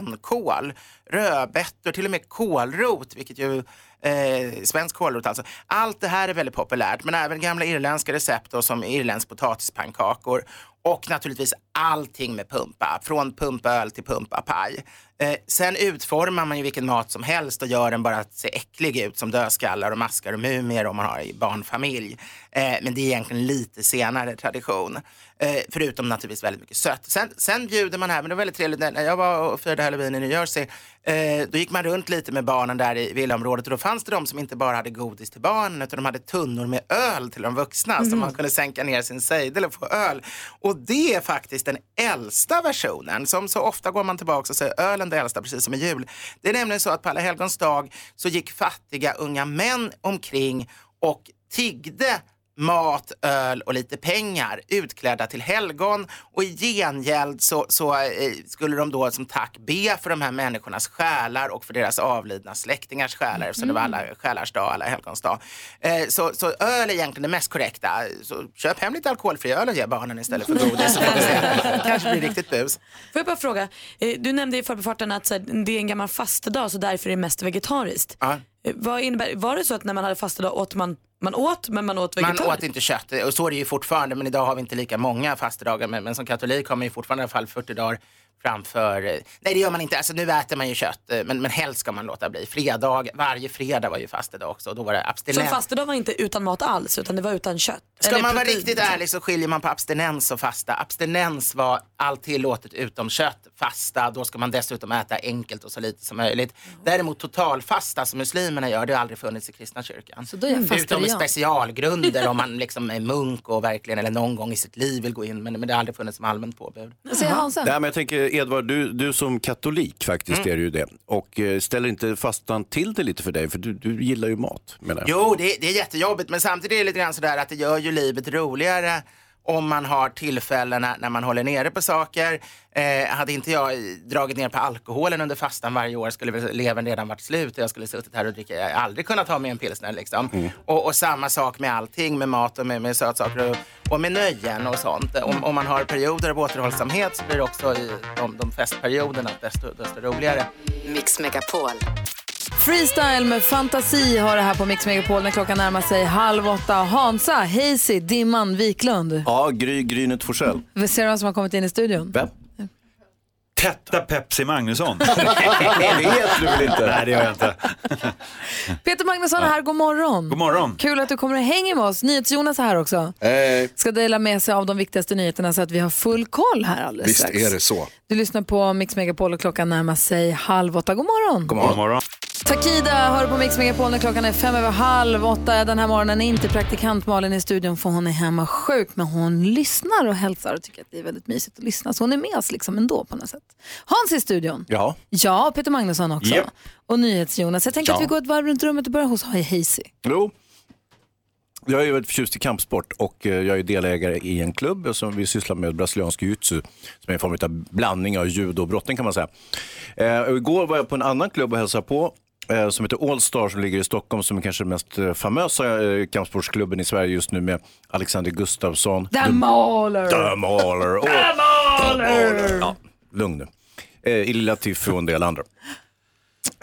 Speaker 12: grönkål, rödbetor, till och med kålrot, vilket ju Eh, svensk kålrot alltså. Allt det här är väldigt populärt, men även gamla irländska recept då, som irländsk potatispannkakor och naturligtvis allting med pumpa, från pumpaöl till pumpapaj. Eh, sen utformar man ju vilken mat som helst och gör den bara att se äcklig ut som dödskallar och maskar och mumier om man har i barnfamilj. Eh, men det är egentligen lite senare tradition. Eh, förutom naturligtvis väldigt mycket sött. Sen, sen bjuder man här, men det var väldigt trevligt, när när jag var och firade halloween i New Jersey, eh, då gick man runt lite med barnen där i villaområdet och då fanns det de som inte bara hade godis till barnen utan de hade tunnor med öl till de vuxna så
Speaker 13: Mhm.
Speaker 12: man kunde sänka ner sin sejdel och få öl. Och det är faktiskt den äldsta versionen. Som så ofta går man tillbaka och säger ölen det äldsta precis som i jul. Det är nämligen så att på alla helgons dag så gick fattiga unga män omkring och tiggde mat, öl och lite pengar utklädda till helgon och i gengäld så, så eh, skulle de då som tack be för de här människornas själar och för deras avlidna släktingars själar eftersom det var alla eh, själars dag, alla helgons dag. Eh, så, så öl är egentligen det mest korrekta. Så köp hem lite alkoholfri öl och ge barnen istället för godis. så får vi se. kanske blir riktigt bus.
Speaker 7: Får jag bara fråga, eh, du nämnde i förbifarten att så här, det är en gammal fastedag så därför är det mest vegetariskt.
Speaker 12: Ja.
Speaker 7: Eh, Vad innebär, var det så att när man hade fastedag åt man, man åt men man åt
Speaker 12: Man
Speaker 7: vegetariskt?
Speaker 12: åt inte kött och så är det ju fortfarande men idag har vi inte lika många fastedagar men, men som katolik har man ju fortfarande i alla fall 40 dagar Framför, eh, nej det gör man inte, alltså, nu äter man ju kött eh, men, men helst ska man låta bli. Fredag, varje fredag var ju fastedag också och då var det
Speaker 7: Som
Speaker 12: abstinens.
Speaker 7: fastedag var inte utan mat alls utan det var utan kött.
Speaker 12: Ska
Speaker 7: Eller
Speaker 12: man vara
Speaker 7: protein.
Speaker 12: riktigt ärlig så skiljer man på abstinens och fasta. Abstinens var allt tillåtet utom kött. Fasta, då ska man dessutom äta enkelt och så lite som möjligt. Däremot totalfasta som muslimerna gör, det har aldrig funnits i kristna kyrkan.
Speaker 2: då är jag
Speaker 12: utom i
Speaker 2: fastarian.
Speaker 12: specialgrunder om
Speaker 2: [LAUGHS]
Speaker 12: man liksom är munk och verkligen, eller någon gång i sitt liv vill gå in. Men, men det har aldrig funnits som allmänt påbud.
Speaker 3: Nej, men jag tänker Edvard, du, du som katolik faktiskt
Speaker 12: Mm.
Speaker 3: är du ju det. Och eh, ställer inte fastan till det lite för dig? För du, du gillar ju mat. Menar jag.
Speaker 12: Jo, det, det är jättejobbigt men samtidigt är det lite grann sådär att det gör ju livet roligare om man har tillfällena när man håller nere på saker. Eh, hade inte jag dragit ner på alkoholen under fastan varje år skulle väl levern redan varit slut och jag skulle suttit här och dricka. Jag hade aldrig kunnat ha med en pilsner liksom.
Speaker 3: Mm.
Speaker 12: Och, och samma sak med allting, med mat och med, med sötsaker och, och med nöjen och sånt. Om, om man har perioder av återhållsamhet så blir det också i de, de festperioderna desto, desto roligare.
Speaker 9: Mix Megapol.
Speaker 2: Freestyle med fantasi har det här på Mix Megapol när klockan närmar sig halv åtta. Hansa, Hazy, Dimman, Wiklund.
Speaker 3: Ja, Gry, Grynet Forsell.
Speaker 2: Vi ser vem som har kommit in i
Speaker 6: Mm.
Speaker 2: studion.
Speaker 3: Vem?
Speaker 13: Tätta Pepsi
Speaker 3: [LAUGHS]
Speaker 13: Magnusson.
Speaker 2: Det vet
Speaker 3: du väl inte?
Speaker 13: Nej, det gör jag inte.
Speaker 2: Peter Magnusson är här, god morgon.
Speaker 13: God morgon.
Speaker 2: Kul att du kommer och hänger med oss. NyhetsJonas är här också.
Speaker 6: Hej.
Speaker 2: Ska dela med sig av de viktigaste nyheterna så att vi har full koll här alldeles
Speaker 6: Visst
Speaker 2: strax.
Speaker 6: är det så.
Speaker 2: Du lyssnar på Mix Megapol och klockan närmar sig halv åtta. God morgon.
Speaker 6: God morgon.
Speaker 2: Takida hör på Mix Megapol när klockan är fem över halv åtta. Den här morgonen är inte praktikant Malin i studion för hon är hemma sjuk. Men hon lyssnar och hälsar och tycker att det är väldigt mysigt att lyssna. Så hon är med oss liksom ändå på något sätt. Hans i studion.
Speaker 3: Ja.
Speaker 2: Ja, Peter Magnusson också.
Speaker 3: Japp.
Speaker 2: Och NyhetsJonas. Jag tänker
Speaker 3: Ja.
Speaker 2: att vi går ett varv runt rummet och börjar hos Hazy.
Speaker 3: Jo. Jag är ju väldigt förtjust i kampsport och eh, jag är delägare i en klubb som vi sysslar med brasiliansk jiu-jitsu som är en form av blandning av judo och brottning kan man säga. Eh, och igår var jag på en annan klubb och hälsade på eh, som heter Allstar som ligger i Stockholm som är kanske den mest eh, famösa eh, kampsportsklubben i Sverige just nu med Alexander Gustafsson.
Speaker 2: The Mauler.
Speaker 3: The Mauler. Och-
Speaker 2: The Mauler.
Speaker 3: Ja, lugn nu. Eh, I Lilla Tiff och en del andra.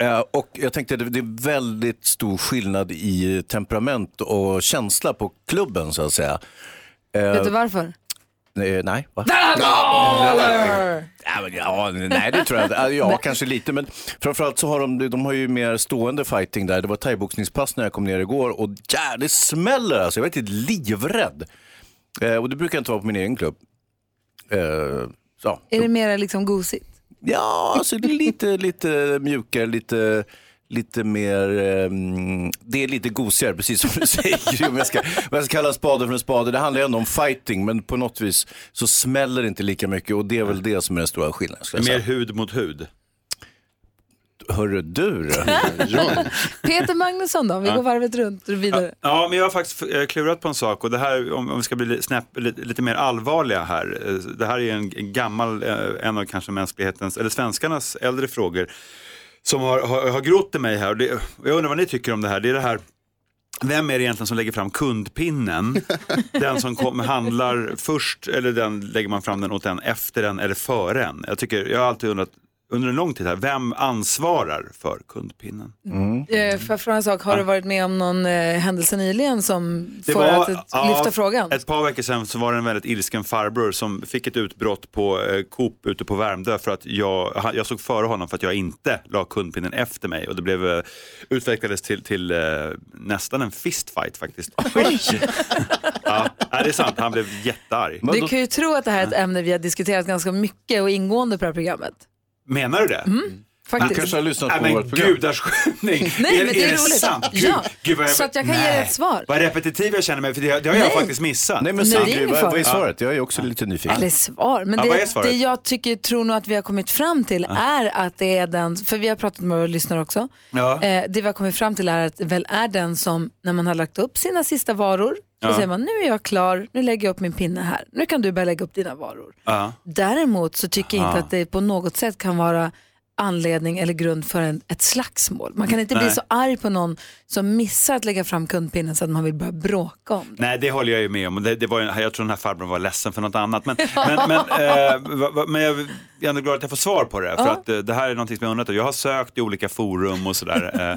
Speaker 3: Eh, Och jag tänkte att det det är väldigt stor skillnad i temperament och känsla på klubben så att säga. Eh,
Speaker 2: Vet du varför?
Speaker 3: eh, Nej, va?
Speaker 2: Baller!
Speaker 3: Ja, men, ja, nej, det tror jag inte. Eh, Ja, kanske lite. Men framförallt så har de, de har ju mer stående fighting där. Det var thaiboxningspass när jag kom ner igår och ja, det smäller alltså. Jag var riktigt livrädd. Eh, Och det brukar jag inte vara på min egen klubb. Eh, så.
Speaker 2: Är det mera liksom gosigt?
Speaker 3: Ja, alltså det är lite, lite mjukare, lite, lite mer... ehm, det är lite gosigare, precis som du [LAUGHS] säger. Om jag ska, om jag ska kalla en spade för en spade. Det handlar ju ändå om fighting, men på något vis så smäller det inte lika mycket. Och det är väl det som är den stora skillnaden. Ska jag
Speaker 13: Mer
Speaker 3: säga.
Speaker 13: hud mot hud.
Speaker 3: Hörru du.
Speaker 13: [LAUGHS]
Speaker 2: Peter Magnusson då? Vi
Speaker 13: Ja.
Speaker 2: går varvet runt och vidare.
Speaker 13: Ja, men jag har faktiskt eh, klurat på en sak och det här, om om vi ska bli li- snäpp, lite, lite mer allvarliga här. eh, Det här är en g- gammal, eh, en av kanske mänsklighetens, eller svenskarnas äldre frågor som har, har, har grott i mig här. Och det, och jag undrar vad ni tycker om det här. Det är det här vem är det egentligen som lägger fram kundpinnen? Den som kom, handlar först eller den, lägger man fram den åt den efter den eller före en? Jag, tycker, jag har alltid undrat under en lång tid här, vem ansvarar för kundpinnen?
Speaker 2: Eh, Får jag fråga en sak? Har du varit med om någon eh, händelse nyligen som får att eh,
Speaker 13: ja,
Speaker 2: lyfta frågan?
Speaker 13: Ett par veckor sedan så var det en väldigt ilsken farbror som fick ett utbrott på eh, Coop ute på Värmdö för att jag, han- jag såg före honom för att jag inte la kundpinnen efter mig och det blev, eh, utvecklades till, till eh, nästan en fistfight faktiskt. [LAUGHS] ja, nej, det är sant, han blev jättearg.
Speaker 2: Du kan ju tro att det här är ett ämne vi har diskuterat ganska mycket och ingående på det här programmet.
Speaker 13: Menar du det?
Speaker 2: Mm,
Speaker 13: Mm.
Speaker 2: faktiskt.
Speaker 3: Du kanske har lyssnat på
Speaker 13: Nej,
Speaker 3: vårt
Speaker 13: men
Speaker 3: program.
Speaker 13: gudars skymning.
Speaker 2: Nej, men det är
Speaker 13: det
Speaker 2: roligt.
Speaker 13: sant? Gud,
Speaker 2: Ja,
Speaker 13: gud, vad
Speaker 2: så att jag kan ge
Speaker 13: Nej.
Speaker 2: dig ett svar.
Speaker 13: Vad repetitiv jag känner mig, för det, det har jag
Speaker 2: Nej.
Speaker 13: faktiskt missat.
Speaker 2: Nej, men Nej, det är Sandra, ingen vad- fara. vad är svaret?
Speaker 3: Jag är också lite nyfiken.
Speaker 2: Eller svar. Men
Speaker 13: Ja, vad är
Speaker 2: det,
Speaker 13: svaret?
Speaker 2: det jag tycker, tror nog att vi har kommit fram till
Speaker 13: Ja.
Speaker 2: är att det är den, för vi har pratat med våra lyssnare också,
Speaker 13: Ja.
Speaker 2: eh, det vi har kommit fram till är att det väl är den som när man har lagt upp sina sista varor så
Speaker 13: Ja.
Speaker 2: säger man nu är jag klar, nu lägger jag upp min pinne här, nu kan du börja lägga upp dina varor.
Speaker 13: Ja.
Speaker 2: Däremot så tycker jag inte
Speaker 13: Aha.
Speaker 2: att det på något sätt kan vara anledning eller grund för en, ett slagsmål. Man kan inte bli
Speaker 13: Nej.
Speaker 2: så arg på någon som missar att lägga fram kundpinnen så att man vill börja bråka om
Speaker 13: Nej, det håller jag ju med om. Och Det, det var, ju- jag tror den här farbrorn var ledsen för något annat.
Speaker 2: [LAUGHS]
Speaker 13: Men, men, men, eh, va- va- men jag är ändå glad att jag får svar på det. För
Speaker 2: Ja.
Speaker 13: att eh, det här är någonting som jag undrat. över. Jag har sökt i olika forum och sådär. Eh,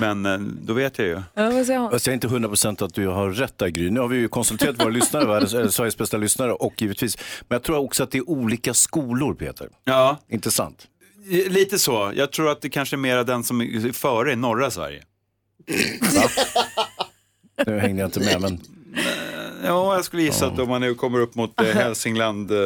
Speaker 13: Men eh, då vet jag ju.
Speaker 2: Ja, vad säger hon?
Speaker 3: Fast jag är inte 100% att du har rätt där Gry. Nu har vi ju konsulterat våra lyssnare, världens- eller Sveriges bästa lyssnare och givetvis. Men jag tror också att det är olika skolor Peter.
Speaker 13: Ja.
Speaker 3: Intressant.
Speaker 13: Lite så. Jag tror att det kanske är mera den som är före i norra Sverige.
Speaker 3: Nu hängde jag inte med men.
Speaker 13: Ja, jag skulle gissa att om man nu kommer upp mot eh, Hälsingland, eh,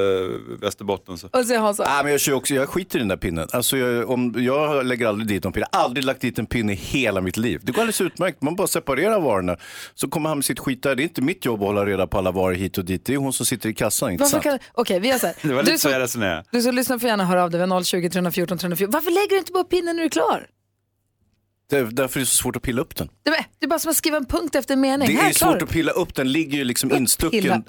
Speaker 13: Västerbotten så.
Speaker 2: Och så har så.
Speaker 3: Nej, men jag, kör också, jag skiter i den där pinnen. Alltså, jag, om, jag lägger aldrig dit någon pinne. Aldrig lagt dit en pinne i hela mitt liv. Det går alldeles utmärkt. Man bara separerar varorna. Så kommer han med sitt skit där. Det är inte mitt jobb att hålla reda på alla varor hit och dit. Det är hon som sitter i kassan. Inte
Speaker 2: Varför
Speaker 3: sant?
Speaker 2: kan, okej, vi gör så här.
Speaker 3: [LAUGHS] Det var
Speaker 2: Du
Speaker 3: lite så
Speaker 2: som,
Speaker 3: jag resonerade.
Speaker 2: du som lyssnar får gärna höra av dig. vid 020 314 314. Varför lägger du inte bara pinnen när du är klar?
Speaker 3: Det är därför det är så svårt att pilla upp den.
Speaker 2: Det är, det är bara som att skriva en punkt efter en mening.
Speaker 3: det
Speaker 2: här,
Speaker 3: är
Speaker 2: klar.
Speaker 3: svårt att pilla upp. Den ligger ju liksom
Speaker 2: pilla
Speaker 3: instucken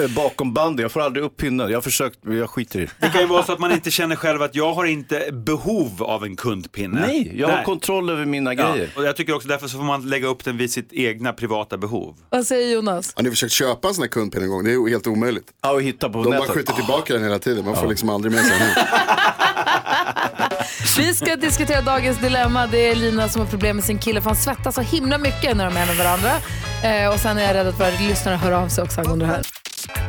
Speaker 3: eh, bakom bandet. Jag får aldrig upp pinnen. Jag har försökt, men jag skiter i det.
Speaker 13: Det kan ju vara så att man inte känner själv att jag har inte behov av en kundpinne.
Speaker 3: Nej, jag har kontroll över mina grejer.
Speaker 13: Och jag tycker också därför så får man lägga upp den vid sitt egna privata behov.
Speaker 2: Vad säger Jonas?
Speaker 6: Har ni försökt köpa en sån här kundpinne en gång? Det är ju helt omöjligt.
Speaker 3: Ja, och hitta på
Speaker 6: De bara
Speaker 3: nätet.
Speaker 6: skjuter tillbaka den hela tiden. Man får liksom aldrig med sig den.
Speaker 2: [LAUGHS] Vi ska diskutera dagens dilemma. Det är Lina som har problem med sin kille för han svettas så himla mycket när de är med varandra. Eh, och sen är jag rädd att våra lyssnare hör av sig också angående det här.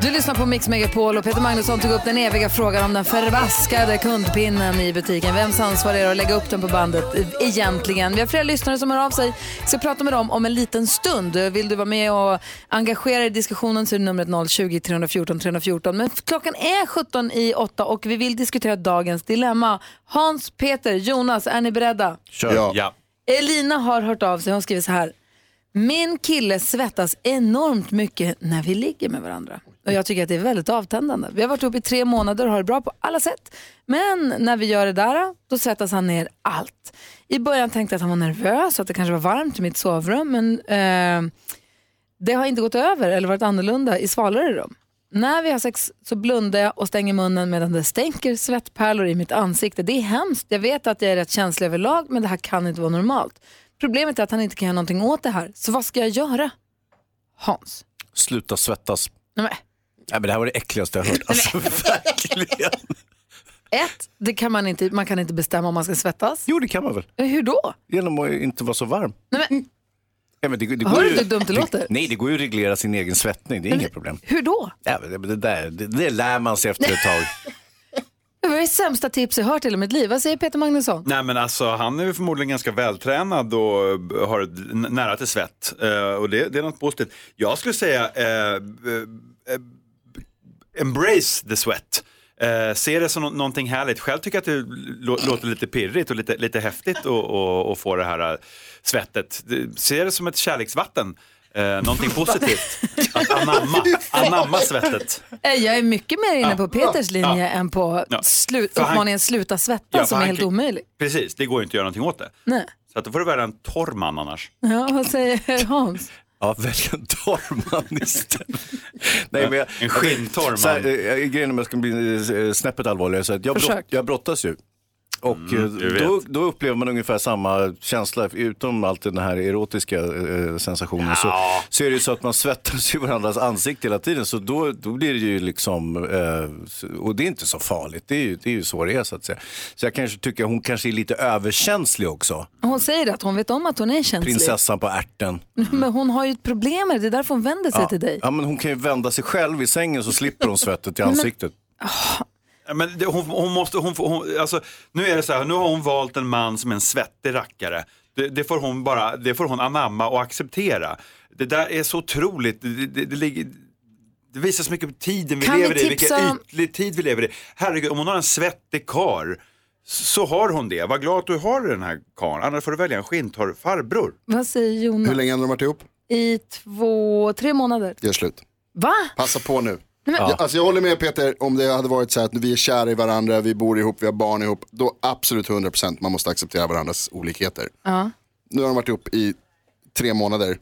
Speaker 2: Du lyssnar på Mix Megapol och Peter Magnusson tog upp den eviga frågan om den förvaskade kundpinnen i butiken. Vems ansvar är det att lägga upp den på bandet eh, egentligen? Vi har flera lyssnare som hör av sig. Vi ska prata med dem om en liten stund. Vill du vara med och engagera dig i diskussionen så är numret 020-314 314. Men klockan är 17 i 8 och vi vill diskutera dagens dilemma. Hans, Peter, Jonas, är ni beredda?
Speaker 3: Kör. Ja. ja.
Speaker 2: Elina har hört av sig. Hon skriver så här. Min kille svettas enormt mycket när vi ligger med varandra. Och jag tycker att det är väldigt avtändande. Vi har varit ihop i tre månader och har det bra på alla sätt. Men när vi gör det där, då svettas han ner allt. I början tänkte jag att han var nervös och att det kanske var varmt i mitt sovrum. Men eh, det har inte gått över eller varit annorlunda i svalare rum. När vi har sex så blundar jag och stänger munnen medan det stänker svettpärlor i mitt ansikte. Det är hemskt. Jag vet att jag är rätt känslig överlag men det här kan inte vara normalt. Problemet är att han inte kan göra någonting åt det här. Så vad ska jag göra? Hans.
Speaker 3: Sluta svettas.
Speaker 2: Nej, men
Speaker 3: Nej, men det här var det äckligaste jag hört. Alltså, verkligen.
Speaker 2: Ett, det kan man, inte, man kan inte bestämma om man ska svettas.
Speaker 3: Jo, det kan man väl.
Speaker 2: Hur då?
Speaker 3: Genom att inte vara så varm.
Speaker 2: Nej, men,
Speaker 3: Ja, men det, det
Speaker 2: Hör
Speaker 3: går
Speaker 2: du
Speaker 3: ju-
Speaker 2: hur dumt det låter?
Speaker 3: Nej, det går ju att reglera sin egen svettning. Det är inga problem.
Speaker 2: hur då?
Speaker 3: Ja, men det, det, där, det, det lär man sig efter ett tag.
Speaker 2: Det var det sämsta tips jag hört i hela mitt liv. Vad säger Peter Magnusson?
Speaker 13: Nej men alltså han är ju förmodligen ganska vältränad och eh, har ett n- nära till svett. Eh, och det, det är något positivt. Jag skulle säga eh, eh, eh, embrace the sweat. Eh, se det som nå- någonting härligt. Själv tycker jag att det lå- låter lite pirrigt och lite, lite häftigt att- att att få det här eh, svettet. Det- Se det som ett kärleksvatten. Eh,
Speaker 2: [LAUGHS]
Speaker 13: någonting positivt. Att anamma, anamma svettet.
Speaker 2: Eh, Jag är mycket mer inne
Speaker 13: Ja.
Speaker 2: på Peters
Speaker 13: Ja.
Speaker 2: linje än på
Speaker 13: Ja.
Speaker 2: slu-
Speaker 13: För han-
Speaker 2: uppmaningen sluta
Speaker 13: Ja,
Speaker 2: svettas
Speaker 13: för
Speaker 2: som är
Speaker 13: han
Speaker 2: helt
Speaker 13: kan-
Speaker 2: omöjlig.
Speaker 13: Precis, det går ju inte att göra någonting åt det.
Speaker 2: Nej.
Speaker 13: Så att då får du välja en torr man annars.
Speaker 2: Ja, vad säger [LAUGHS] Hans?
Speaker 3: Ja, välj en torr man istället. Nej, men jag,
Speaker 13: En skinntorr man.
Speaker 3: Så här, eh, grejen om jag ska bli eh, snäppet allvarligare, så att jag, brott,
Speaker 13: Försök.
Speaker 3: jag brottas ju. Och eh,
Speaker 13: Mm, du vet.
Speaker 3: då, då upplever man ungefär samma känsla, utom allt den här erotiska eh, sensationen. Så, så är det ju så att man svettas i varandras ansikte hela tiden. Så då, då blir det ju liksom, eh, och det är inte så farligt. Det är, ju, det är ju så det är så att säga. Så jag kanske tycker hon kanske är lite överkänslig också.
Speaker 2: Hon säger att hon vet om att hon är känslig.
Speaker 3: Prinsessan på ärten.
Speaker 2: [LAUGHS] Men hon har ju ett problem med det, det är därför hon vänder sig
Speaker 3: Ja.
Speaker 2: till dig.
Speaker 3: Ja, men hon kan ju vända sig själv i sängen så slipper hon
Speaker 2: [LAUGHS]
Speaker 3: svettet i ansiktet.
Speaker 13: Ja, [LAUGHS] Men det, hon, hon måste, hon, får- hon, alltså, nu är det så här, nu har hon valt en man som är en svettig rackare. Det, det får hon bara, det får hon anamma och acceptera. Det där är så otroligt, det, det, det, ligger, det visar så mycket på tiden vi
Speaker 2: Kan vi
Speaker 13: lever i,
Speaker 2: tipsa
Speaker 13: vilken
Speaker 2: om-
Speaker 13: ytlig tid vi lever i. Herregud, om hon har en svettig kar så har hon det. Var glad att du har den här karln, annars får du välja en skinntorr farbror.
Speaker 2: Vad säger Jonas?
Speaker 6: länge har de varit ihop?
Speaker 2: I två, tre månader.
Speaker 6: Gör slut.
Speaker 2: Va?
Speaker 6: Passa på nu.
Speaker 2: men-
Speaker 6: Ja. Jag, alltså jag håller med Peter om det hade varit så här att vi är kära i varandra, vi bor ihop, vi har barn ihop. Då absolut 100% man måste acceptera varandras olikheter.
Speaker 2: Ja.
Speaker 6: Nu har de varit ihop i tre månader.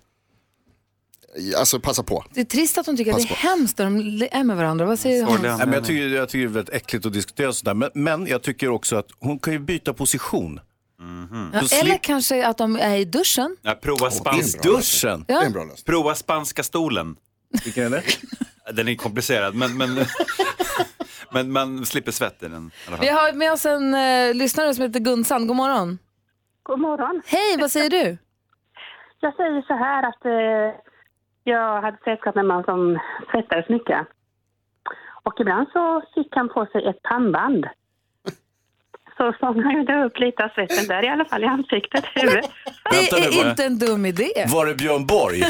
Speaker 6: Alltså passa på.
Speaker 2: Det är trist att hon tycker att det är
Speaker 6: Pass
Speaker 2: hemskt när de le- är med varandra. Vad säger Hans?
Speaker 3: Nej, men jag, tycker, jag tycker det är väldigt äckligt att diskutera sådär. Men, men jag tycker också att hon kan ju byta position.
Speaker 13: Mhm.
Speaker 2: Ja,
Speaker 3: Så
Speaker 2: eller
Speaker 3: slip-
Speaker 2: kanske att de är i duschen.
Speaker 13: Ja, prova spanska
Speaker 3: duschen.
Speaker 2: Ja. Det är en
Speaker 13: Prova spanska stolen.
Speaker 3: Vilken är det?
Speaker 13: [LAUGHS] Den är komplicerad, men, men, [LAUGHS] men man slipper svett i den. i alla fall.
Speaker 2: Vi har med oss en eh, lyssnare som heter Gunsan. God morgon.
Speaker 14: God morgon.
Speaker 2: Hej, vad säger du?
Speaker 14: Jag säger så här att eh, jag hade sällskap med en man som tvättades mycket. Och ibland så fick han på sig ett pannband. Så fångade ju det upp lite av svetten där i alla fall i ansiktet. huvudet.
Speaker 2: Det
Speaker 3: Vänta nu
Speaker 2: är
Speaker 3: bara.
Speaker 2: inte en dum idé.
Speaker 3: Var det Björn
Speaker 2: [LAUGHS]
Speaker 3: Borg?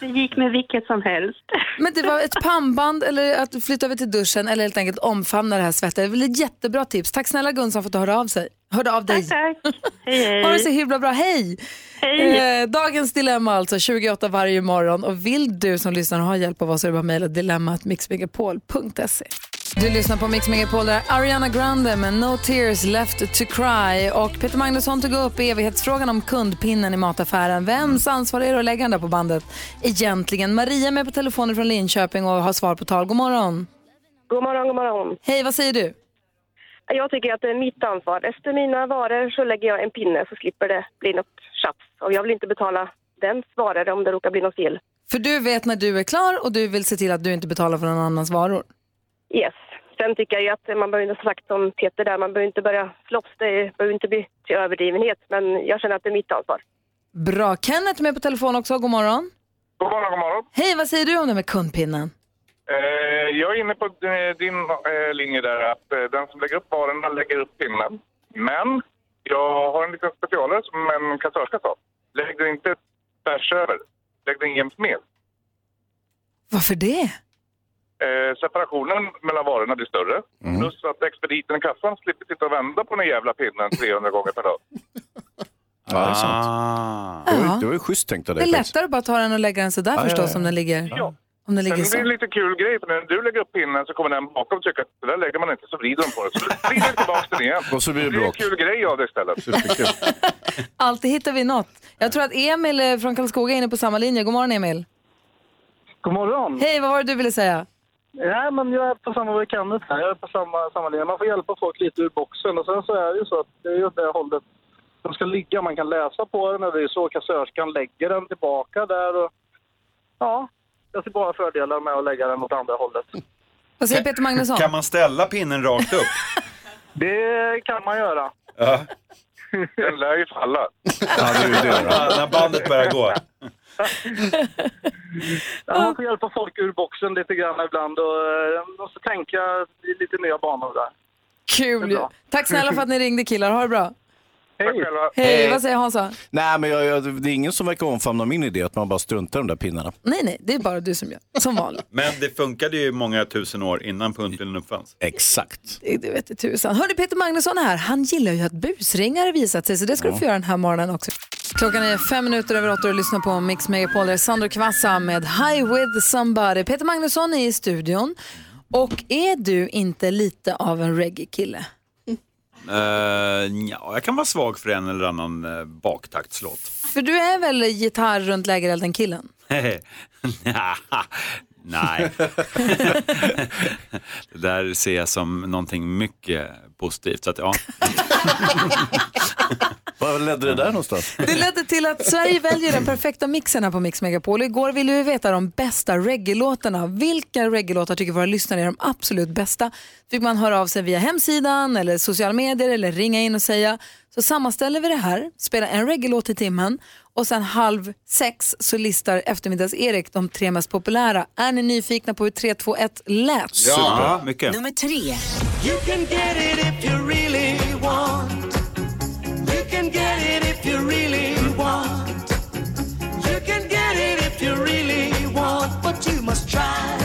Speaker 14: Det gick med vilket som helst.
Speaker 2: Men det var ett pannband eller att flytta över till duschen eller helt enkelt omfamna det här svettet. Det är väl ett jättebra tips. Tack snälla Gunsan för att du hörde av, sig. hörde av dig. Tack,
Speaker 14: hej.
Speaker 2: Ha det så himla bra. Hej!
Speaker 14: Hej.
Speaker 2: Eh, dagens dilemma alltså, 28 varje morgon. Och vill du som lyssnar ha hjälp av oss så är det bara att mejla dilemmatmixmegapol.se. Du lyssnar på Mix Megapol, där Ariana Grande med No Tears Left To Cry. Och Peter Magnusson tog upp evighetsfrågan om kundpinnen i mataffären. Vems ansvar är det att lägga den där på bandet egentligen? Maria är med på telefonen från Linköping och har svar på tal. God morgon.
Speaker 15: God morgon, god morgon.
Speaker 2: Hej, vad säger du?
Speaker 15: Jag tycker att det är mitt ansvar. Efter mina varor så lägger jag en pinne så slipper det bli något tjafs. Och jag vill inte betala dens varor om det råkar bli något fel.
Speaker 2: För du vet när du är klar och du vill se till att du inte betalar för någon annans varor.
Speaker 15: Yes. Sen tycker jag ju att man behöver inte, som sagt som Peter där, man behöver inte börja slåss. Det behöver inte bli till överdrivenhet. Men jag känner att det är mitt ansvar.
Speaker 2: Bra. Kenneth är med på telefon också. God morgon.
Speaker 16: God morgon, god morgon.
Speaker 2: Hej, vad säger du om det med kundpinnen?
Speaker 16: Eh, jag är inne på eh, din eh, linje där att eh, den som lägger upp varorna lägger upp pinnen. Men jag har en liten specialare som en kassörska sa. Lägg den inte tvärs över. Lägg den jäms med.
Speaker 2: Varför det?
Speaker 16: Eh, separationen mellan varorna blir större.
Speaker 3: Mm.
Speaker 16: Plus att expediten i kassan slipper sitta och vända på den jävla pinnen 300 gånger per dag.
Speaker 3: Ja, det är sant.
Speaker 13: Ah.
Speaker 3: Det var ju- Det var ju schysst tänkt av
Speaker 2: Det är
Speaker 3: dig. faktiskt.
Speaker 2: lättare att bara ta den och lägga den sådär
Speaker 3: Ja,
Speaker 2: förstås
Speaker 3: ja, ja.
Speaker 2: om den ligger, om
Speaker 16: Sen
Speaker 2: den ligger
Speaker 16: blir det en
Speaker 2: så.
Speaker 16: lite kul grej, för när du lägger upp pinnen så kommer den bakom tycka att det där lägger man inte, så vrider de på det. Så vrider den tillbaka den igen.
Speaker 3: [LAUGHS] Och så blir det
Speaker 16: blir en
Speaker 3: bråk.
Speaker 16: kul grej av det istället.
Speaker 2: Alltid hittar vi något. Jag tror att Emil eh, från Karlskoga är inne på samma linje. God morgon Emil.
Speaker 17: God morgon.
Speaker 2: Hej, vad var det du ville säga?
Speaker 17: Nej, men jag är på samma veckandet här. Jag är på samma, samma linje. Man får hjälpa folk lite ur boxen. Och sen så är det ju så att det är ju åt det hållet de ska ligga. Man kan läsa på den och det är så kassörskan lägger den tillbaka där. Och, ja, jag ser bara fördelar med att lägga den åt andra hållet.
Speaker 2: Vad säger Peter Magnusson?
Speaker 13: Kan man ställa pinnen rakt upp?
Speaker 17: Det kan man göra.
Speaker 13: Ja.
Speaker 16: [LAUGHS] Den lär ju falla.
Speaker 13: När bandet börjar gå.
Speaker 17: Ja, man får hjälpa folk ur boxen lite grann ibland och eh, måste tänka i lite nya banor där.
Speaker 2: Kul ju. Tack snälla för att ni ringde killar. Ha det bra.
Speaker 17: Hej!
Speaker 2: Hej, vad säger Hansa?
Speaker 3: Nej, men jag, jag, det är ingen som verkar omfamna min idé att man bara struntar i de där pinnarna.
Speaker 2: Nej, nej, det är bara du som gör. [LAUGHS] Som vanligt.
Speaker 13: Men det funkade ju i många tusen år innan pundpinnen uppfanns.
Speaker 3: Exakt.
Speaker 2: Det- Det vet i tusan. Hörni, Peter Magnusson är här. Han gillar ju att busringare visat sig, så det ska du få göra den här morgonen också. Klockan är fem minuter över åtta och du lyssnar på Mix Megapol. Det är Sandro Kvassa med High with somebody. Peter Magnusson är i studion. Och är du inte lite av en reggae-kille?
Speaker 13: Uh, ja, jag kan vara svag för en eller annan uh, baktaktslåt.
Speaker 2: För du är väl gitarr runt lägerelden-killen?
Speaker 13: [LAUGHS] Nja, Nej. [LAUGHS] det där ser jag som någonting mycket positivt. Så att, ja.
Speaker 3: Vad ledde det där någonstans?
Speaker 2: [LAUGHS] Det ledde till att Sverige väljer den perfekta mixen här på Mix Megapol. Och Igår ville vi veta de bästa reggae-låtarna. Vilka reggae-låtar tycker våra lyssnare är de absolut bästa? Fick man höra av sig via hemsidan eller sociala medier eller ringa in och säga. Så sammanställer vi det här, spelar en reggae-låt i timmen och sen halv sex så listar eftermiddags-Erik de tre mest populära. Är ni nyfikna på hur 3, 2, 1 lät?
Speaker 13: Ja, mycket.
Speaker 9: Nummer tre.
Speaker 4: You can get it if you really want. You can get it if you really want. You can get it if you really want. But you must try,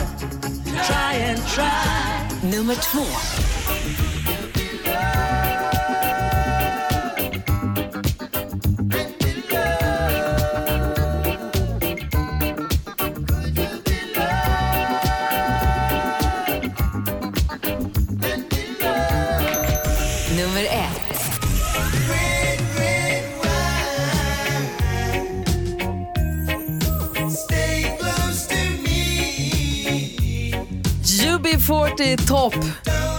Speaker 4: try and try.
Speaker 9: Nummer två. Nummer ett.
Speaker 4: Stay close to me.
Speaker 2: UB40 topp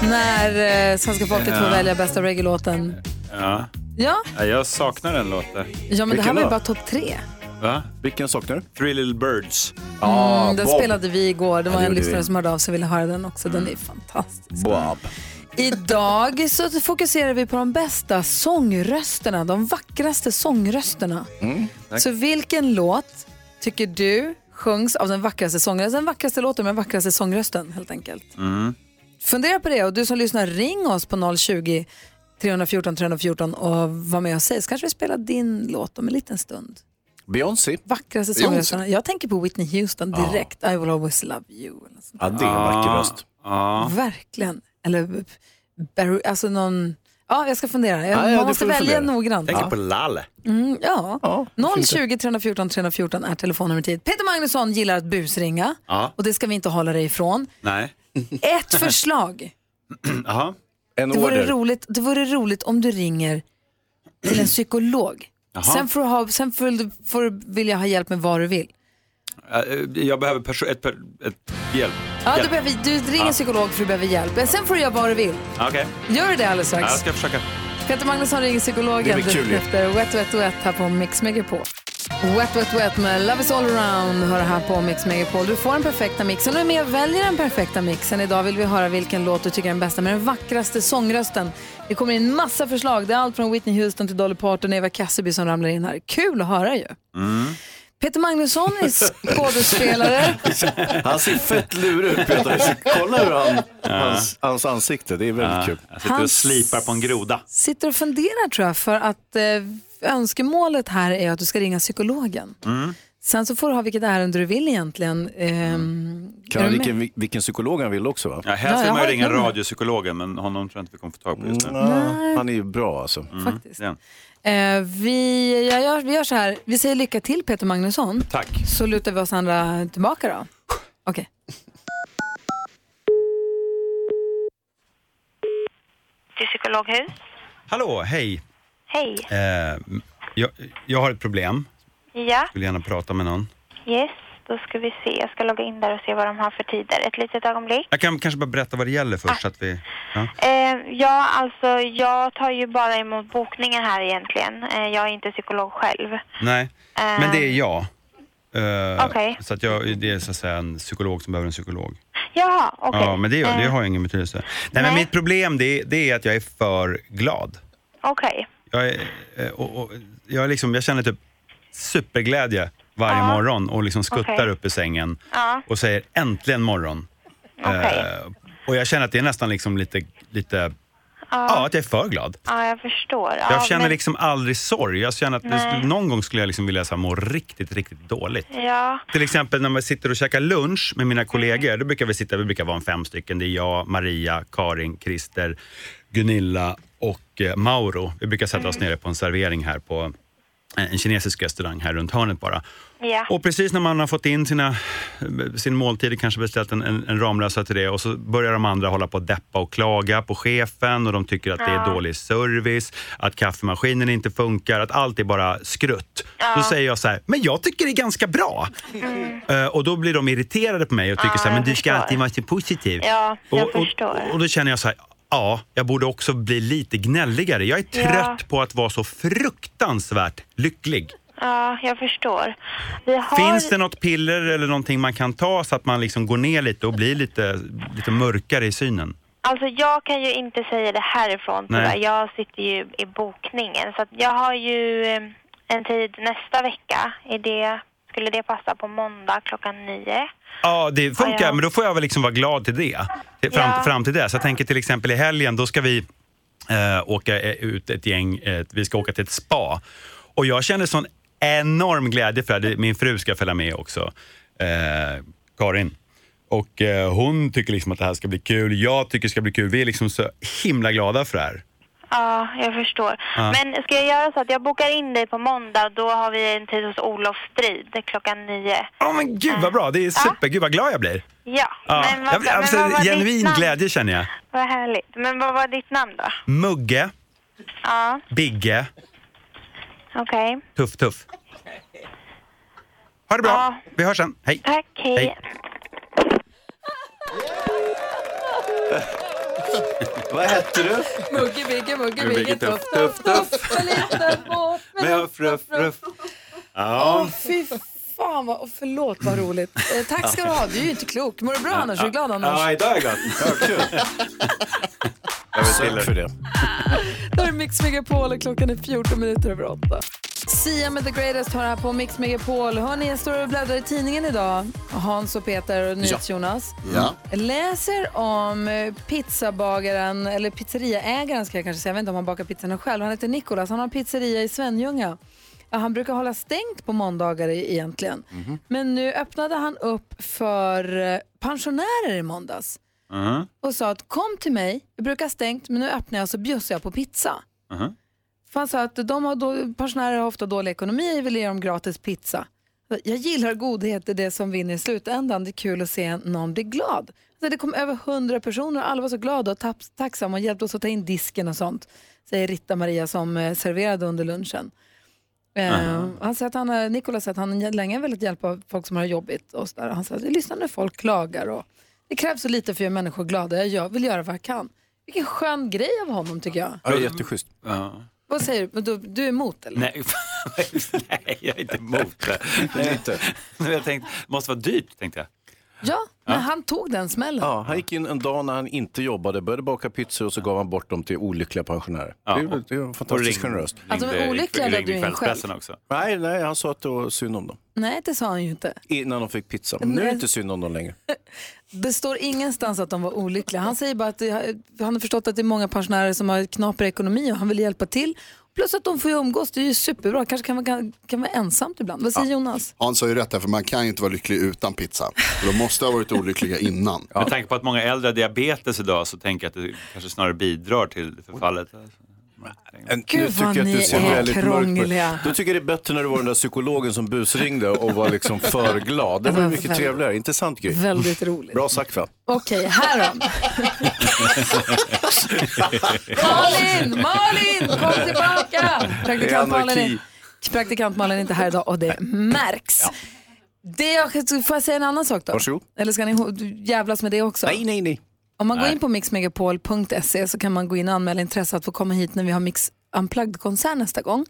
Speaker 2: när eh, svenska folket får
Speaker 13: Ja.
Speaker 2: välja bästa reggae-låten.
Speaker 13: Ja.
Speaker 2: Ja,
Speaker 13: Ja, Jag saknar den låten.
Speaker 2: ja men det här var ju bara topp tre.
Speaker 13: Va?
Speaker 3: Vilken saknar du?
Speaker 13: Three Little Birds.
Speaker 2: Mm, den spelade vi igår. Det
Speaker 13: Ah, Ja,
Speaker 2: var
Speaker 13: det
Speaker 2: en
Speaker 13: gjorde
Speaker 2: lyssnare
Speaker 13: vi. Mm.
Speaker 2: som hörde av sig och ville höra den också. Den är fantastisk.
Speaker 3: Bob.
Speaker 2: Idag så fokuserar vi på de bästa sångrösterna, de vackraste sångrösterna.
Speaker 4: Mm, tack.
Speaker 2: Så vilken låt tycker du sjungs av den vackraste sångrösten? Den vackraste låten med den vackraste sångrösten helt enkelt.
Speaker 4: Mm.
Speaker 2: Fundera på det och du som lyssnar ring oss på 020 314 314 och var med och säg så kanske vi spelar din låt om en liten stund.
Speaker 3: Beyoncé.
Speaker 2: Vackraste
Speaker 3: Beyoncé.
Speaker 2: sångrösterna. Jag tänker på Whitney Houston direkt. I will always love you. eller sånt.
Speaker 3: Ja, det är en vacker
Speaker 13: Ah,
Speaker 3: röst.
Speaker 13: ah.
Speaker 2: Verkligen. Eller Barry, alltså någon... Ja, jag ska fundera. Jag,
Speaker 18: Ja, ja,
Speaker 2: man
Speaker 18: det får
Speaker 2: måste
Speaker 18: du
Speaker 2: välja
Speaker 18: fundera.
Speaker 2: noggrant.
Speaker 18: Tänker
Speaker 2: Ja.
Speaker 18: på Lalle.
Speaker 2: Mm, ja. 020 314 314 är telefonnumret hit. Peter Magnusson gillar att busringa
Speaker 13: Ja.
Speaker 2: och det ska vi inte hålla dig ifrån.
Speaker 13: Nej.
Speaker 18: [LAUGHS]
Speaker 2: Ett förslag.
Speaker 13: [CLEARS THROAT] Jaha.
Speaker 2: Det vore, roligt, det vore roligt om du ringer till en psykolog.
Speaker 13: [CLEARS THROAT] Jaha.
Speaker 2: Sen, får du ha, sen får du, får du vilja ha hjälp med vad du vill.
Speaker 13: Eh, Jag behöver perso- ett, per- ett hjälp.
Speaker 2: Ja, du,
Speaker 13: Hjälp.
Speaker 2: behöver, du ringer
Speaker 13: Ja.
Speaker 2: en psykolog för du behöver hjälp. Men Sen får du göra vad du vill.
Speaker 13: Okej.
Speaker 2: Gör du det alldeles
Speaker 13: Ja, jag
Speaker 2: strax?
Speaker 13: ska försöka.
Speaker 2: Peter Magnusson ringer
Speaker 13: Det
Speaker 2: psykologen
Speaker 13: blir kul ju.
Speaker 2: efter Wet Wet Wet här på Mix Megapol. Wet Wet Wet med Love is all around hör här på Mix Megapol. Du får den perfekta mixen och är med och väljer den perfekta mixen. Idag vill vi höra vilken låt du tycker är den bästa med den vackraste sångrösten. Det kommer in massa förslag. Det är allt från Whitney Houston till Dolly Parton och Eva Cassidy som ramlar in här. Kul att höra ju.
Speaker 13: Mm.
Speaker 2: Peter Magnusson
Speaker 13: [LAUGHS]
Speaker 2: är skådespelare.
Speaker 3: [LAUGHS] Han ser fett lurig ut Peter.
Speaker 2: [LAUGHS]
Speaker 3: Så Kolla hur han, hans, hans ansikte, det är väldigt kul.
Speaker 13: Jag
Speaker 2: sitter och Hans-
Speaker 13: slipar på en groda.
Speaker 2: Sitter och funderar tror jag för att eh, önskemålet här är att du ska ringa psykologen.
Speaker 3: Mm.
Speaker 2: Sen så får du ha vilket ärende du vill egentligen. Ehm,
Speaker 3: Kan
Speaker 2: är
Speaker 3: han
Speaker 2: du
Speaker 3: vilken, vilken psykolog han vill också va?
Speaker 13: Ja,
Speaker 2: Ja,
Speaker 13: helst vill
Speaker 2: jag
Speaker 13: man
Speaker 2: har
Speaker 13: ju
Speaker 2: ett
Speaker 13: ringa
Speaker 2: nummer.
Speaker 13: radiopsykologen men honom tror jag inte vi kommer få tag på just nu. Mm,
Speaker 2: Nej.
Speaker 3: Han är ju bra alltså.
Speaker 2: Faktiskt. med? Eh, vi, jag gör, vi gör så här, vi säger lycka till Peter Magnusson.
Speaker 13: Tack.
Speaker 2: Så lutar vi oss andra tillbaka då. Okej.
Speaker 19: Till psykologhus.
Speaker 13: Hallå, hej.
Speaker 19: Hej.
Speaker 13: Eh, jag, jag har ett problem.
Speaker 19: Ja,
Speaker 13: Skulle gärna prata med någon.
Speaker 19: yes. Då ska vi se. Jag ska logga in där och se vad de har för tider. Ett litet ögonblick.
Speaker 13: Jag kan kanske bara berätta vad det gäller först så att vi... Ja.
Speaker 19: Eh, ja, alltså jag tar ju bara emot bokningar här egentligen. Eh, jag är inte psykolog själv.
Speaker 13: Nej, men det är jag. Eh,
Speaker 19: Okej.
Speaker 13: Så att jag, det är så att säga en psykolog som behöver en psykolog.
Speaker 19: Jaha, okej.
Speaker 13: Ja, men det,
Speaker 19: Eh,
Speaker 13: det har ingen betydelse. Nej, men mitt problem det, det är att jag är för glad.
Speaker 19: Okej.
Speaker 13: Jag, är, eh, och, och, jag, är liksom, jag känner typ superglädje varje morgon och liksom skuttar
Speaker 19: Okej.
Speaker 13: upp i sängen
Speaker 19: Ja.
Speaker 13: och säger äntligen morgon. Eh, och jag känner att det är nästan liksom lite, lite
Speaker 19: Ja.
Speaker 13: ja, att jag är för glad.
Speaker 19: Ja, jag förstår. Ja,
Speaker 13: jag känner
Speaker 19: men-
Speaker 13: liksom aldrig sorg. Jag känner att det
Speaker 19: Nej.
Speaker 13: skulle- någon gång skulle jag liksom vilja så här, må riktigt, riktigt dåligt.
Speaker 19: Ja,
Speaker 13: Till exempel när man sitter och käkar lunch med mina kollegor, då brukar vi sitta, vi brukar vara en fem stycken. Det är jag, Maria, Karin, Christer, Gunilla och eh, Mauro. Vi brukar sätta oss
Speaker 19: Mm.
Speaker 13: nere på en servering här på eh, en en kinesisk restaurang här runt hörnet bara.
Speaker 19: ja.
Speaker 13: Och precis när man har fått in sina, sin måltid, kanske beställt en, en, en Ramlösa till det och så börjar de andra hålla på och deppa och klaga på chefen och de tycker att det är
Speaker 19: Ja.
Speaker 13: dålig service, att kaffemaskinen inte funkar, att allt är bara skrutt. Då säger jag så här, men jag tycker det är ganska bra.
Speaker 19: Mm.
Speaker 13: Eh, Och då blir de irriterade på mig och tycker
Speaker 19: Ja,
Speaker 13: så här, men
Speaker 19: jag
Speaker 13: du ska
Speaker 19: förstår.
Speaker 13: alltid vara så positiv.
Speaker 19: Ja, jag
Speaker 13: och,
Speaker 19: förstår.
Speaker 13: och, och då känner jag så här, ja, jag borde också bli lite gnälligare. Jag är
Speaker 19: Ja.
Speaker 13: trött på att vara så fruktansvärt lycklig.
Speaker 19: ja, jag förstår. Vi har...
Speaker 13: Finns det något piller eller någonting man kan ta så att man liksom går ner lite och blir lite, lite mörkare i synen?
Speaker 19: Alltså jag kan ju inte säga det härifrån
Speaker 13: Nej.
Speaker 19: tyvärr. Jag sitter ju i bokningen. Så att jag har ju eh, en tid nästa vecka. Är det, skulle det passa på måndag klockan nio?
Speaker 13: Ja, det funkar,
Speaker 19: Ja, ja.
Speaker 13: men då får jag väl liksom vara glad till det. Till- Fram,
Speaker 19: Ja.
Speaker 13: fram till det. Så jag tänker till exempel i helgen, då ska vi eh, åka eh, ut ett gäng, eh, vi ska åka till ett spa. Och jag känner sån enorm glädje för det här. Det- Min fru ska följa med också, eh, Karin. Och eh, hon tycker liksom att det här ska bli kul. Jag tycker det ska bli kul. Vi är liksom så himla glada för det här.
Speaker 19: Ja, jag förstår.
Speaker 13: Ja.
Speaker 19: Men ska jag göra så att jag bokar in dig på måndag och då har vi en tid hos Olof Strid klockan nio.
Speaker 13: Åh men gud vad bra, det är super. Gud vad glad jag blir.
Speaker 19: Ja,
Speaker 13: Ja.
Speaker 19: men vad,
Speaker 13: jag blir
Speaker 19: men
Speaker 13: alltså,
Speaker 19: vad var ditt
Speaker 13: genuin
Speaker 19: namn?
Speaker 13: glädje känner jag.
Speaker 19: Vad härligt. Men vad var ditt namn då?
Speaker 13: Mugge,
Speaker 19: Ja,
Speaker 13: Bigge,
Speaker 19: okej.
Speaker 13: Tuff Tuff. Ha det bra,
Speaker 19: Ja.
Speaker 13: vi hörs sen. Hej.
Speaker 19: Tack, hej.
Speaker 13: [LAUGHS]
Speaker 3: Vad hette du?
Speaker 2: Mugge, Bigge, Mugge,
Speaker 13: Mugge,
Speaker 2: Bigge,
Speaker 13: tuff,
Speaker 2: tuff, tuff, tuff. En liten båt med en
Speaker 13: ruff, ruff.
Speaker 2: Åh,
Speaker 13: Ja.
Speaker 2: fy fan vad, och förlåt vad roligt. Eh, tack ska du ha, du är ju inte klok. Mår du bra annars? Är du glad annars?
Speaker 13: idag är jag glad.
Speaker 3: Sök för det.
Speaker 2: Där är Mix Megapol och klockan är 14 minuter över 8. Sia med The Greatest har här på Mix Megapol. Hörni, jag står och bläddrar i tidningen idag. Hans och Peter och NyhetsJonas.
Speaker 20: Mm.
Speaker 6: Ja.
Speaker 2: Läser om eh, pizzabagaren, eller pizzeriaägaren ska jag kanske säga. Jag vet inte om han bakar pizzorna själv. Han heter Nikolas. Han har en pizzeria i Svenljunga. Ja, Han brukar hålla stängt på måndagar e- egentligen. Men nu öppnade han upp för eh, pensionärer i måndags
Speaker 13: Mhm,
Speaker 2: och sa att kom till mig, jag brukar ha stängt men nu öppnar jag så bjussar jag på pizza.
Speaker 13: mhm.
Speaker 2: För han sa att de har då, pensionärer har ofta dålig ekonomi, jag vill ge dem gratis pizza. Jag gillar godhet, det är det som vinner i slutändan. Det är kul att se någon bli glad. Så det kom över hundra personer och alla var så glada och taps- tacksamma och hjälpte oss att ta in disken och sånt. Säger Ritta-Maria som eh, serverade under lunchen. Eh, han säger att han, har- Nicolas säger att han länge har velat hjälpa folk som har jobbigt. Och så där. Han säger att lyssna när folk klagar. Och det krävs så lite för att göra människor glada. Jag gör- vill göra vad jag kan. Vilken skön grej av honom tycker jag.
Speaker 3: Ja, det är jätteschysst.
Speaker 13: Ja.
Speaker 2: Vad säger du? Men Du, du är emot eller?
Speaker 13: Nej, [LAUGHS] nej, jag är inte emot det. Nej, inte. Jag tänkte, det måste vara dyrt, tänkte jag.
Speaker 2: Ja, men han tog den smällen.
Speaker 3: Ja, han gick in en dag när han inte jobbade, började baka pizzor och så gav han bort dem till olyckliga pensionärer. det, är- det är fantastiskt
Speaker 13: och ring-
Speaker 3: generöst.
Speaker 2: Alltså, de är ringde- olyckliga ringde räddade ju ingen kvällspressen själv.
Speaker 13: också.
Speaker 3: Nej, nej, han sa att det var synd om dem
Speaker 2: Nej, det sa han ju inte.
Speaker 3: innan de fick pizza. Men nu är det inte synd om dem längre.
Speaker 2: Det står ingenstans att de var olyckliga. Han säger bara att det, han har förstått att det är många pensionärer som har knaper ekonomi och han vill hjälpa till. Plus att de får ju umgås, det är ju superbra. Kanske kan vara, kan, kan vara ensamt ibland. Vad säger Jonas?
Speaker 6: Hans har ju rätt här, för man kan ju inte vara lycklig utan pizza. För De måste ha varit olyckliga innan.
Speaker 13: Med tanke på att många äldre har diabetes idag så tänker jag att det kanske snarare bidrar till förfallet.
Speaker 3: En,
Speaker 2: Gud, vad ni är krångliga.
Speaker 3: Du tycker jag det är bättre när du var den där psykologen som busringde och var liksom för glad. Det var
Speaker 2: var
Speaker 3: mycket
Speaker 2: väldigt-
Speaker 3: trevligare. Intressant grej.
Speaker 2: Väldigt roligt.
Speaker 3: Bra sagt va?
Speaker 2: Okej, här
Speaker 7: [LAUGHS]
Speaker 2: då. [LAUGHS] Malin! Malin! Kom tillbaka! Praktikant
Speaker 3: Det är
Speaker 2: Malin
Speaker 3: anarki.
Speaker 2: är, praktikant Malin är inte här idag och det märks. Det jag, får jag säga en annan sak då?
Speaker 3: Varsågod.
Speaker 2: Eller ska ni ho- jävlas med det också?
Speaker 3: Nej, nej, nej.
Speaker 2: Om man går
Speaker 3: Nej.
Speaker 2: in på mixmegapol.se så kan man gå in och anmäla intresse att få komma hit när vi har Mix Unplugged-konsert nästa gång.